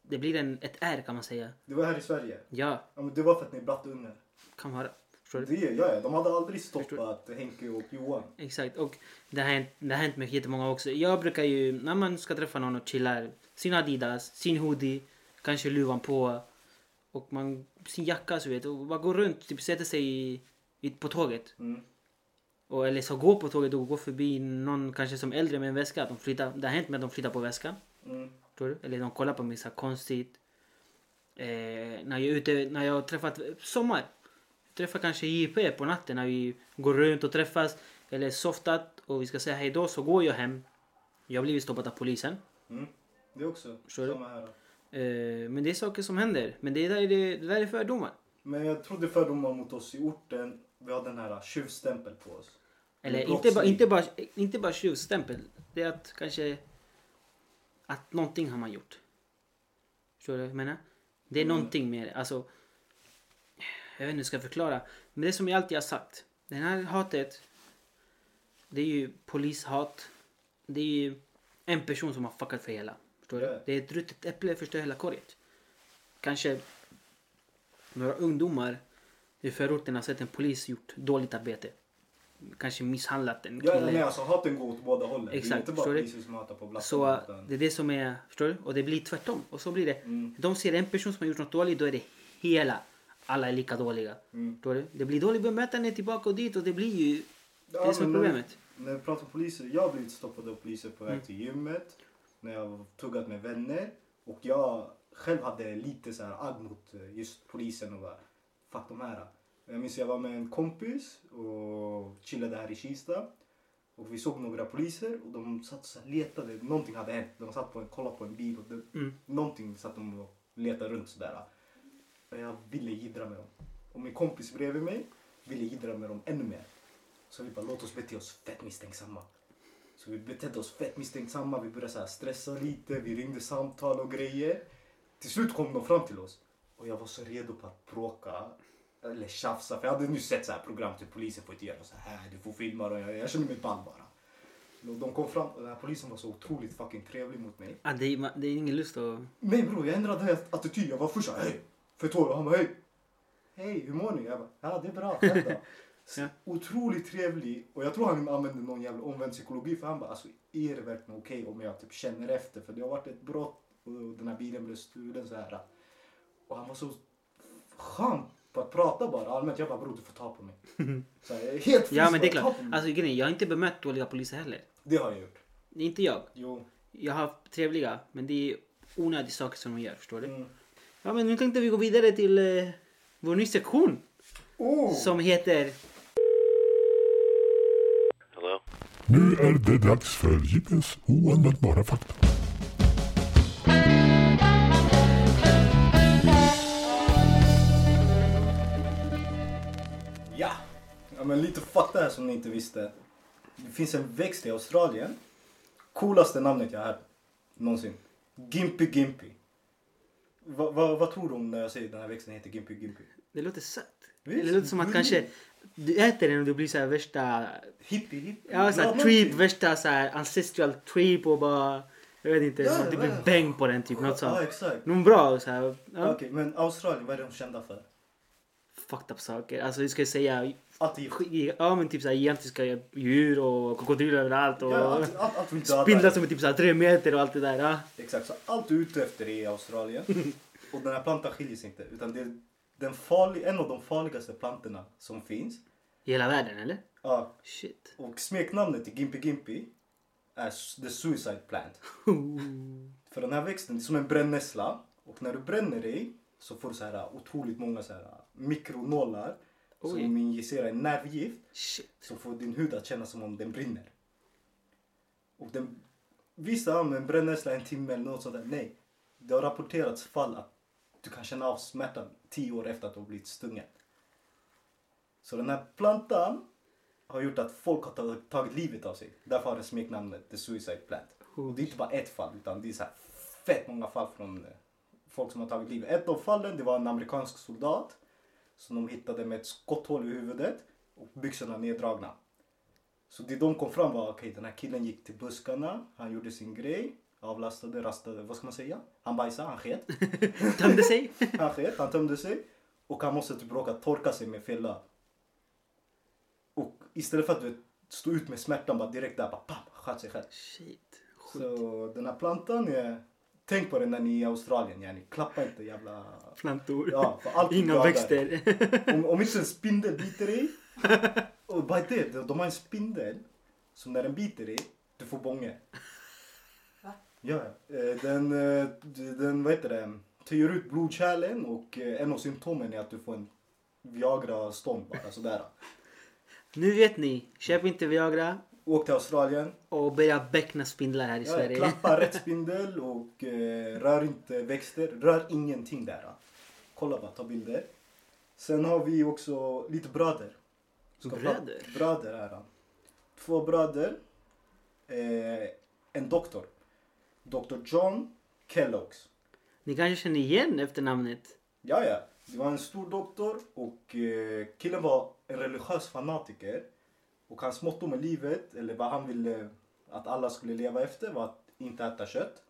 A: Det blir en, ett R kan man säga.
B: Det var här i Sverige.
A: Ja,
B: Ja, men det var för att ni är brattungar.
A: kan vara. Förstår du?
B: Det, ja, ja, de hade aldrig
A: Förstår
B: stoppat Henke och Johan.
A: Exakt, och det har hänt, det har hänt mig jättemånga också. Jag brukar ju, när man ska träffa någon och chillar, sin Adidas, sin hoodie, kanske luvan på och man, sin jacka så vet och bara går runt, typ sätter sig i, i, på tåget.
B: Mm.
A: Och, eller så går på tåget och går förbi någon kanske som är äldre med en väska. Att de flyttar, det har hänt mig att de flyttar på väskan.
B: Mm.
A: Förstår du? Eller de kollar på mig så här konstigt. Eh, när jag är ute, när jag har träffat, sommar. Jag träffar kanske JP på natten när vi går runt och träffas. Eller softat och vi ska säga hej då så går jag hem. Jag har blivit stoppad av polisen.
B: Mm. Det är också
A: Förstår du?
B: samma här.
A: Eh, men det är saker som händer. Men det där är, det, det där är fördomar.
B: Men jag trodde fördomar mot oss i orten. Vi hade den här tjuvstämpel på oss.
A: Eller
B: Mm,
A: inte, ba,
B: brottsling.
A: inte, bara, inte bara tjuvstämpel. Det är att kanske... Att någonting har man gjort. Förstår du vad jag menar? Det
B: Mm.
A: är någonting med det. Alltså... Jag vet inte hur jag ska förklara. Men det som jag alltid har sagt. Det här hatet. Det är ju polishat. Det är ju en person som har fuckat för hela. Förstår
B: Ja.
A: du? Det är ett ruttet äpple förstör hela korget. Kanske några ungdomar i förorten har sett en polis gjort dåligt arbete. Kanske misshandlat en
B: Ja, nej,
A: kille.
B: alltså haten går åt båda hållen. det är
A: Exakt,
B: inte bara
A: förstår du?
B: poliser som hatar på blatten.
A: Så
B: utan-
A: det är det som är, förstår du? Och det blir tvärtom. Och så blir det.
B: Mm.
A: De ser en person som har gjort något dåligt, då är det hela. Alla är lika dåliga.
B: Mm.
A: Förstår du? Det blir dåligt bemötande tillbaka och dit och det blir ju... Det är
B: Ja,
A: det som är
B: men när-
A: problemet. Mm.
B: När vi pratar om poliser, jag har blivit stoppad av poliser på väg till gymmet. När jag har tuggat med vänner. Och jag själv hade lite så här agg mot eh, just polisen och bara fuck de här. Jag minns jag var med en kompis och chillade här i Kista. Och vi såg några poliser och de satt så här, letade, någonting hade hänt. De satt på en, kollade på en bil och det,
A: Mm.
B: någonting satt de och letade runt sådär. Och Jag ville jiddra med dem. Och min kompis bredvid mig ville jiddra med dem ännu mer. Så vi bara, låt oss bete oss fett misstänksamma. Så vi betedde oss fett misstänksamma, vi började så här stressa lite, vi ringde samtal och grejer. Till slut kom de fram till oss och jag var så redo på att bråka eller tjafsa. För jag hade nu sett så här program till polisen får inte göra så här, "Äh, du får filma dem. Jag, jag kände mig ball bara. Och de kom fram och den här polisen var så otroligt fucking trevlig mot mig.
A: Ah, det, är, ma- det är ingen lust att...
B: Nej bror, jag ändrade helt attityd. Jag var först såhär, hej! För ett år, och han bara, hej! Hej, hur mår ni? Jag bara, ja det är bra, själv då?
A: Ja.
B: Otroligt trevlig och jag tror han använde någon jävla omvänd psykologi för han bara, alltså är det verkligen okej om jag typ känner efter? För det har varit ett brott och den här bilen blev stulen så här. Och han var så skön på att prata bara allmänt. Jag bara, bror du får ta på mig. Så här, jag är helt
A: Ja men det är
B: frisk, bara,
A: klart.
B: "Ta på mig."
A: Alltså grejen är, jag har inte bemött dåliga poliser heller.
B: Det har jag gjort.
A: Inte jag.
B: Jo.
A: Jag har haft trevliga, men det är onödiga saker som de gör, förstår du?
B: Mm.
A: Ja men nu tänkte vi gå vidare till eh, vår ny sektion.
B: Oh!
A: Som heter...
D: Hello?
E: Nu är det dags för Jippes oanvändbara fakta.
B: Ja! ja men lite fakta här som ni inte visste. Det finns en växt i Australien. Coolaste namnet jag har hört någonsin. Gimpy Gimpy. Va, va, vad tror du om när jag säger den här växten heter Gimpy Gimpy?
A: Det låter sött.
B: Visst, mm.
A: det låter som att
B: gulligt.
A: kanske du äter den och du blir så här värsta...
B: Hippie hippie.
A: Ja, så här
B: Glad
A: trip,
B: någonting.
A: värsta så här ancestral trip och bara... Jag vet inte,
B: Ja,
A: som att du
B: ja,
A: blir
B: ja.
A: bäng på den typ. Något
B: Ja
A: sånt.
B: exakt.
A: Någon bra och så här. Ja.
B: Okej men Australien, vad är de kända för?
A: fucked up saker. Alltså vi ska ju säga...
B: Allt är gift.
A: Ja men typ såhär gigantiska djur och krokodiler överallt och...
B: Ja, allt, allt, allt vi dödar.
A: spindlar som är typ såhär tre meter och allt det där. Ja.
B: Exakt, så allt du är ute efter är i Australien. Och den här plantan skiljer sig inte. Utan det är den farlig, en av de farligaste plantorna som finns.
A: I hela världen eller?
B: Ja,
A: Shit.
B: och smeknamnet till Gimpy Gimpy är s- the suicide plant. För den här växten det är som en brännässla. Och när du bränner dig så får du så här uh, otroligt många så här uh, mikronålar.
A: Oj.
B: Som injicerar en nervgift.
A: Shit.
B: så får din hud att kännas som om den brinner. Och den, vissa använder en brännässla en timme eller något sånt där. Nej, det har rapporterats fall att du kan känna av smärtan tio år efter att du har blivit stungen. Så den här plantan har gjort att folk har tagit, tagit livet av sig. Därför har den smeknamnet The Suicide Plant. Och det är inte bara ett fall utan det är så här fett många fall från eh, folk som har tagit livet. Ett av fallen det var en amerikansk soldat som de hittade med ett skotthål i huvudet och byxorna neddragna. Så det de kom fram var okej, den här killen gick till buskarna, han gjorde sin grej, avlastade, rastade, vad ska man säga? Han bajsade, han sket,
A: Tömde sig.
B: han sket, han tömde sig och han måste typ råka torka sig med fel löv. Och istället för att du vet, stå ut med smärtan bara direkt där, bara pam, han sköt sig själv.
A: Shit. Sjukt.
B: Så den här plantan, är, tänk på den när ni är i Australien, yani. klappa inte jävla
A: Plantor.
B: Ja, för allt
A: Inga
B: dödar.
A: växter.
B: Om, om inte en spindel biter dig. Och vad är det? De- De har en spindel som när den biter dig, du får bånge.
C: Va?
B: Ja, eh, den, eh, den vad heter det, töjer ut blodkärlen och eh, en av symptomen är att du får en Viagra-stånd bara sådär.
A: Nu vet ni. Köp inte Viagra
B: Åk till Australien,
A: och börja bäckna spindlar här i
B: ja,
A: Sverige.
B: klappa rätt spindel och eh, rör inte växter, rör ingenting där. Kolla bara, ta bilder. Sen har vi också lite bröder.
A: Bröder?
B: Bröder är han. Två bröder. Eh, en doktor. Dr John Kelloggs.
A: Ni kanske känner igen efternamnet?
B: Ja, ja. Det var en stor doktor och eh, killen var en religiös fanatiker. Och hans motto med livet, eller vad han ville att alla skulle leva efter var att inte äta kött.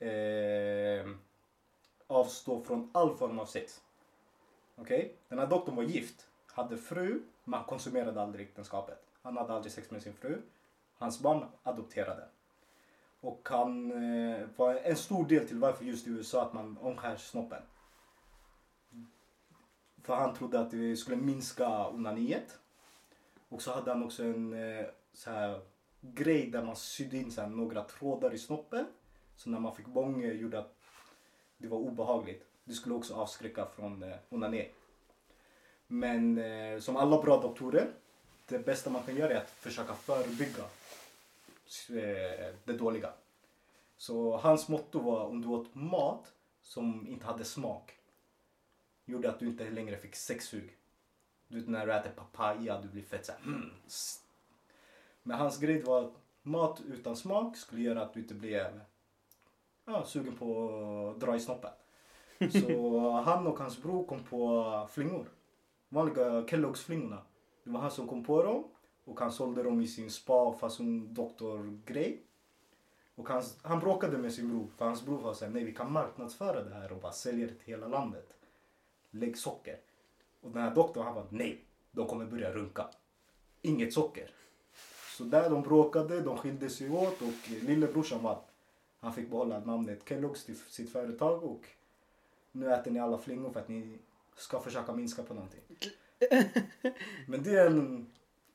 B: Eh, avstå från all form av sex. Okej? Den här doktorn var gift, hade fru, men han konsumerade aldrig äktenskapet. Han hade aldrig sex med sin fru. Hans barn adopterade. Och han eh, var en stor del till varför just i USA att man omskär snoppen. För han trodde att det skulle minska onaniet. Och så hade han också en eh, så här, grej där man sydde in så här, några trådar i snoppen. Så när man fick bång eh, gjorde att det var obehagligt. Det skulle också avskräcka från eh, onani. Men eh, som alla bra doktorer, det bästa man kan göra är att försöka förebygga eh, det dåliga. Så hans motto var om du åt mat som inte hade smak gjorde att du inte längre fick sexsug. Du vet när du äter papaya, du blir fett såhär mm. s- Men hans grej var att mat utan smak skulle göra att du inte blev ja, sugen på att dra i snoppen. Så han och hans bror kom på flingor. Vanliga Kelloggs flingorna. Det var han som kom på dem och han sålde dem i sin spa fason doktorgrej. Och han, han bråkade med sin bror för hans bror var såhär, nej vi kan marknadsföra det här och bara sälja det till hela landet. Lägg socker. Och den här doktorn han bara, nej, de kommer börja runka. Inget socker. Så där de bråkade, de skilde sig åt och eh, lillebrorsan vann. Han fick behålla namnet Kellogg's till sitt företag och nu äter ni alla flingor för att ni ska försöka minska på någonting. Men det är en,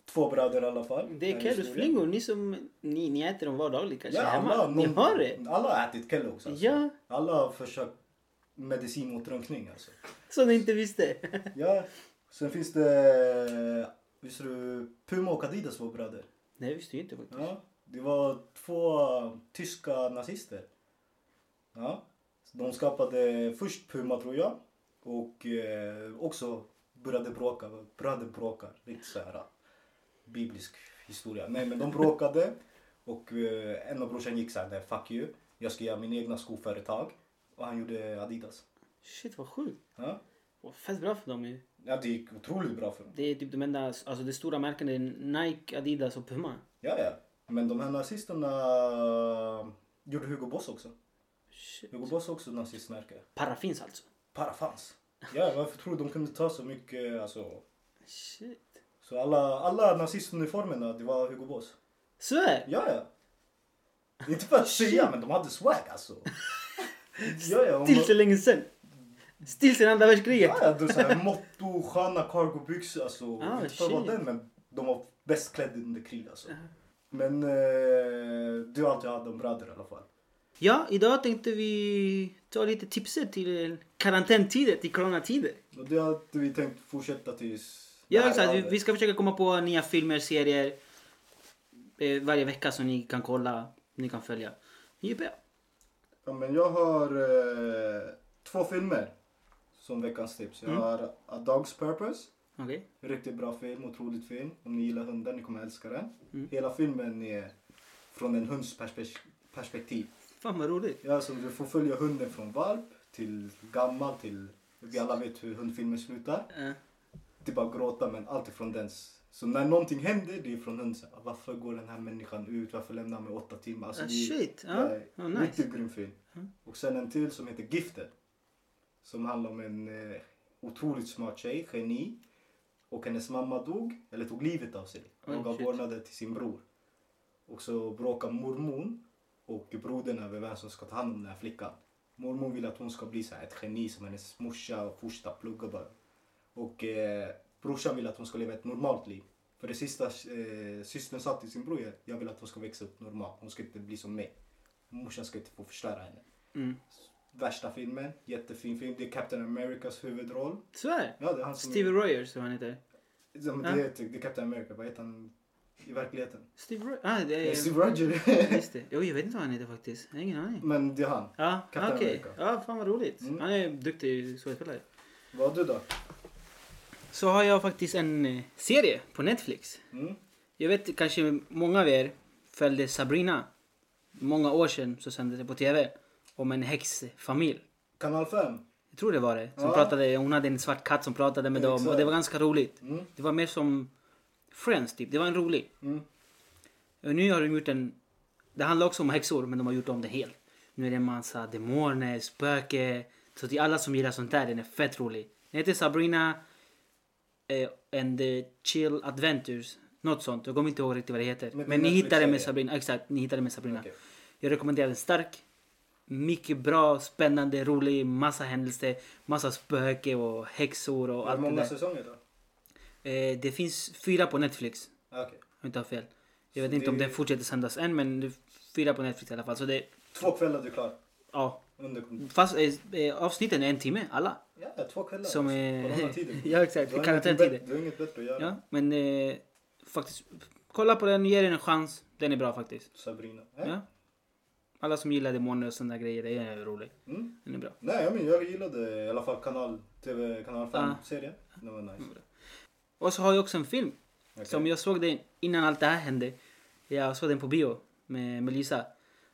B: två bröder i alla fall.
A: Det är
B: Den
A: Kelloggs
B: historien.
A: flingor. Ni som... Ni, ni äter dem vardagligt kanske
B: Ja,
A: hemma?
B: alla,
A: Ni
B: någon-
A: har det?
B: alla har ätit Kellogg's alltså.
A: Ja.
B: Alla har försökt medicin mot drunkning alltså.
A: Som ni inte visste?
B: Ja. Sen finns det, visste du, Puma och Adidas var bröder.
A: Nej, det visste jag inte faktiskt.
B: Ja. Det var två tyska nazister. Ja. De skapade först Puma tror jag. Och eh, också började bråka. Bröder bråkar. Riktigt så här biblisk historia. Nej men de bråkade. Och eh, en av brorsan gick så här, "Nej, fuck you. Jag ska göra min egna skoföretag. Och han gjorde Adidas.
A: Shit vad sjukt.
B: Ja.
A: Vad Fett bra för dem ju.
B: Ja, det gick otroligt bra för dem.
A: Det är typ de enda, alltså det stora märken är Nike, Adidas och Puma.
B: Ja, ja. Men de här nazisterna gjorde Hugo Boss också.
A: Shit.
B: Hugo Boss är också nazistmärke.
A: Paraffins alltså.
B: Paraffans. Ja, varför tror du de kunde ta så mycket, alltså?
A: Shit.
B: Så alla, alla nazistuniformerna, det var Hugo Boss.
A: Så är
B: Ja, ja. Inte för att säga, men de hade swag alltså. Ja, ja.
A: Tills så
B: hon-
A: länge sen. Tills sen andra världskriget.
B: Ja, ja. Det var så här motto, sköna cargobyxor alltså.
A: Ah,
B: inte för att vara
A: shit.
B: den, men de var bäst klädda under krig alltså. Men eh, du har alltid haft en bröder i alla fall.
A: Ja, idag tänkte vi ta lite tipset till karantäntider, till coronatider.
B: Och det hade vi tänkt fortsätta tills... det
A: Ja,
B: här
A: exakt. Vi,
B: landet-
A: vi ska försöka komma på nya filmer, serier eh, varje vecka som ni kan kolla, ni kan följa. JP.
B: Ja, men jag har eh, två filmer som veckans tips. Jag har A Dog's Purpose.
A: Okej.
B: Riktigt bra film, otroligt film. Om ni gillar hundar, ni kommer älska den. Hela filmen är från en hunds perspek- perspektiv.
A: Fan vad roligt.
B: Ja, så du får följa hunden från valp till gammal till... Vi alla vet hur hundfilmer slutar.
A: Eh,
B: Det är bara att typ gråta, men allt är från dens. Så när någonting händer, det är från hunden. Så här, Varför går den här människan ut? Varför lämnar han mig åtta timmar? Alltså,
A: Ah,
B: det-
A: shit. Ja,
B: Nej,
A: vad nice.
B: Riktigt grym film. Och sen en till som heter Gifted. Som handlar om en eh, otroligt smart tjej, geni. Och hennes mamma dog, eller tog livet av sig.
A: Oj,
B: Och gav
A: shit.
B: vårdnaden till sin bror. Och så bråkar mormon och brodern över vem som ska ta hand om den här flickan. Mormon vill att hon ska bli så här ett geni som hennes morsa och första pluggar bara. Och eh, brorsan vill att hon ska leva ett normalt liv. För det sista eh, systern sa till sin bror är jag vill att hon ska växa upp normalt. Hon ska inte bli som mig. Morsan ska inte få förstöra henne.
A: Mm.
B: Värsta filmen, jättefin film. Det är Captain Americas huvudroll.
A: Så är det.
B: Ja, det är han som...
A: Steve Rogers, tror han heter.
B: Ja, men
A: Ja.
B: det, heter, det är Captain America, vad heter han i verkligheten?
A: Steve Rogers? Ah, det
B: Eh,
A: är...
B: Steve Rogers.
A: Just det. Jo, jag vet inte vad han heter faktiskt. Jag har ingen aning.
B: men det är han.
A: Ja,
B: Captain
A: okej.
B: America.
A: Ja, fan vad roligt.
B: Mm.
A: Han är en duktig skådespelare.
B: Vad har du då?
A: Så har jag faktiskt en eh, serie på Netflix.
B: Mm.
A: Jag vet kanske många av er följde Sabrina. Många år sedan så sändes det på TV om en häxfamilj.
B: Kanal 5?
A: Jag tror det var det. Som
B: Ja.
A: pratade, hon hade en svart katt som pratade med dem och
B: Exakt.
A: det var ganska roligt.
B: Mm.
A: Det var mer som Friends typ. Det var en rolig.
B: Mm.
A: Och nu har de gjort en... Det handlar också om häxor men de har gjort om det helt. Nu är det en massa demoner, spöke. Så till alla som gillar sånt där, den är fett rolig. Den heter Sabrina eh, and the Chill Adventures. Något sånt. Jag kommer inte ihåg riktigt vad det heter.
B: Men-
A: Men,
B: men
A: ni hittar det med
B: Netflix-serie.
A: Sabrina. Exakt, ni hittar det med Sabrina.
B: Okej.
A: Jag rekommenderar den stark. Mycket bra, spännande, rolig, massa händelser, massa spöke och häxor och
B: Hur
A: allt det
B: många
A: där.
B: säsonger då?
A: Eh, det finns fyra på Netflix.
B: Ah, Okej.
A: Om jag inte har fel. Jag
B: Så
A: vet inte om
B: det-
A: den fortsätter sändas än men det är fyra på Netflix i alla fall. Så det,
B: Två kvällar du är klar.
A: ja.
B: Under...
A: Fast eh, eh, avsnitten är en timme, alla.
B: Ja, två kvällar.
A: Som
B: alltså.
A: är-
B: Coronatider.
A: Ja, exakt.
B: Du har ingenting
A: Karantäntider.
B: bättre- Du har inget bättre att göra.
A: Ja, men eh, faktiskt. Kolla på den, ge den en chans. Den är bra faktiskt.
B: Sabrina. Eh?
A: Ja. Alla som gillar demoner och sådana där grejer, det är rolig.
B: Mm.
A: Den är bra.
B: Nej, jag, men, jag gillade i alla fall kanal, TV, kanal 5-serien. Den var nice.
A: Och så har jag också en film.
B: Okej.
A: Som jag såg den innan allt det här hände. Jag såg den på bio med Melissa.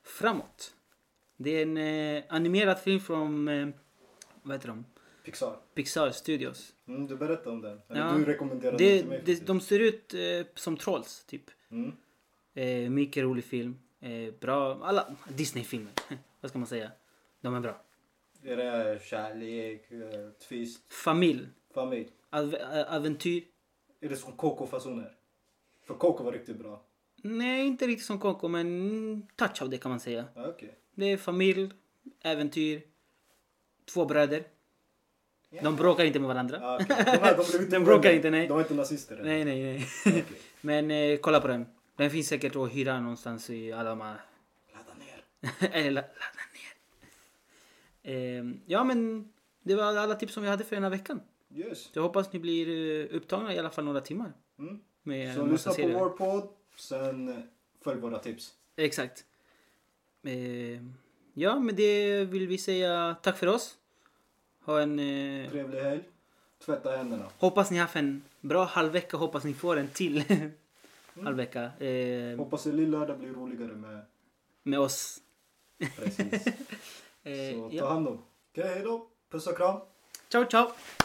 A: Framåt. Det är en eh, animerad film från, eh, vad heter de?
B: Pixar.
A: Pixar Studios.
B: Mm, du berättade om den. Eller
A: Ja.
B: du rekommenderade den
A: Det,
B: till mig.
A: det, de ser ut eh, som trolls, typ.
B: Mm.
A: Eh, mycket rolig film. Eh, bra. Alla Disney-filmer. vad ska man säga? De är bra.
B: Är det kärlek, eh, twist,
A: Familj. eh,
B: familj?
A: Av, ä- äventyr.
B: Är det som KK-fasoner? För KK var riktigt bra.
A: Nej, inte riktigt som Coco, men mm, touch av det kan man säga.
B: Ja, Okej.
A: Det är familj, äventyr, två bröder. De bråkar inte med varandra.
B: Ja, okej. De, här, de, blev inte
A: Den bråkar
B: ovänner.
A: inte, nej.
B: De var inte nazister. eller?
A: Nej, nej, nej.
B: Okej.
A: Men eh, kolla på den. Den finns säkert att hyra någonstans i alla de här...
B: Ladda ner.
A: Eller la- ladda ner. Ehm, ja, men det var alla tips som vi hade för den här veckan.
B: Yes.
A: Så jag hoppas ni blir eh, upptagna i alla fall några timmar.
B: Mm.
A: Med
B: Så
A: en massa
B: lyssna på
A: serier.
B: vår podd, sen eh, följ våra tips.
A: Exakt. Ehm, ja, med det vill vi säga tack för oss. Ha en... Eh,
B: Trevlig helg. Tvätta händerna.
A: Hoppas ni har haft en bra halvvecka. Hoppas ni får en till halvvecka eh,
B: Hoppas det lilla där blir roligare med
A: med oss.
B: precis.
A: Eh,
B: Så ta
A: ja.
B: hand om. Okej, hej då. Puss och kram.
A: Ciao, ciao!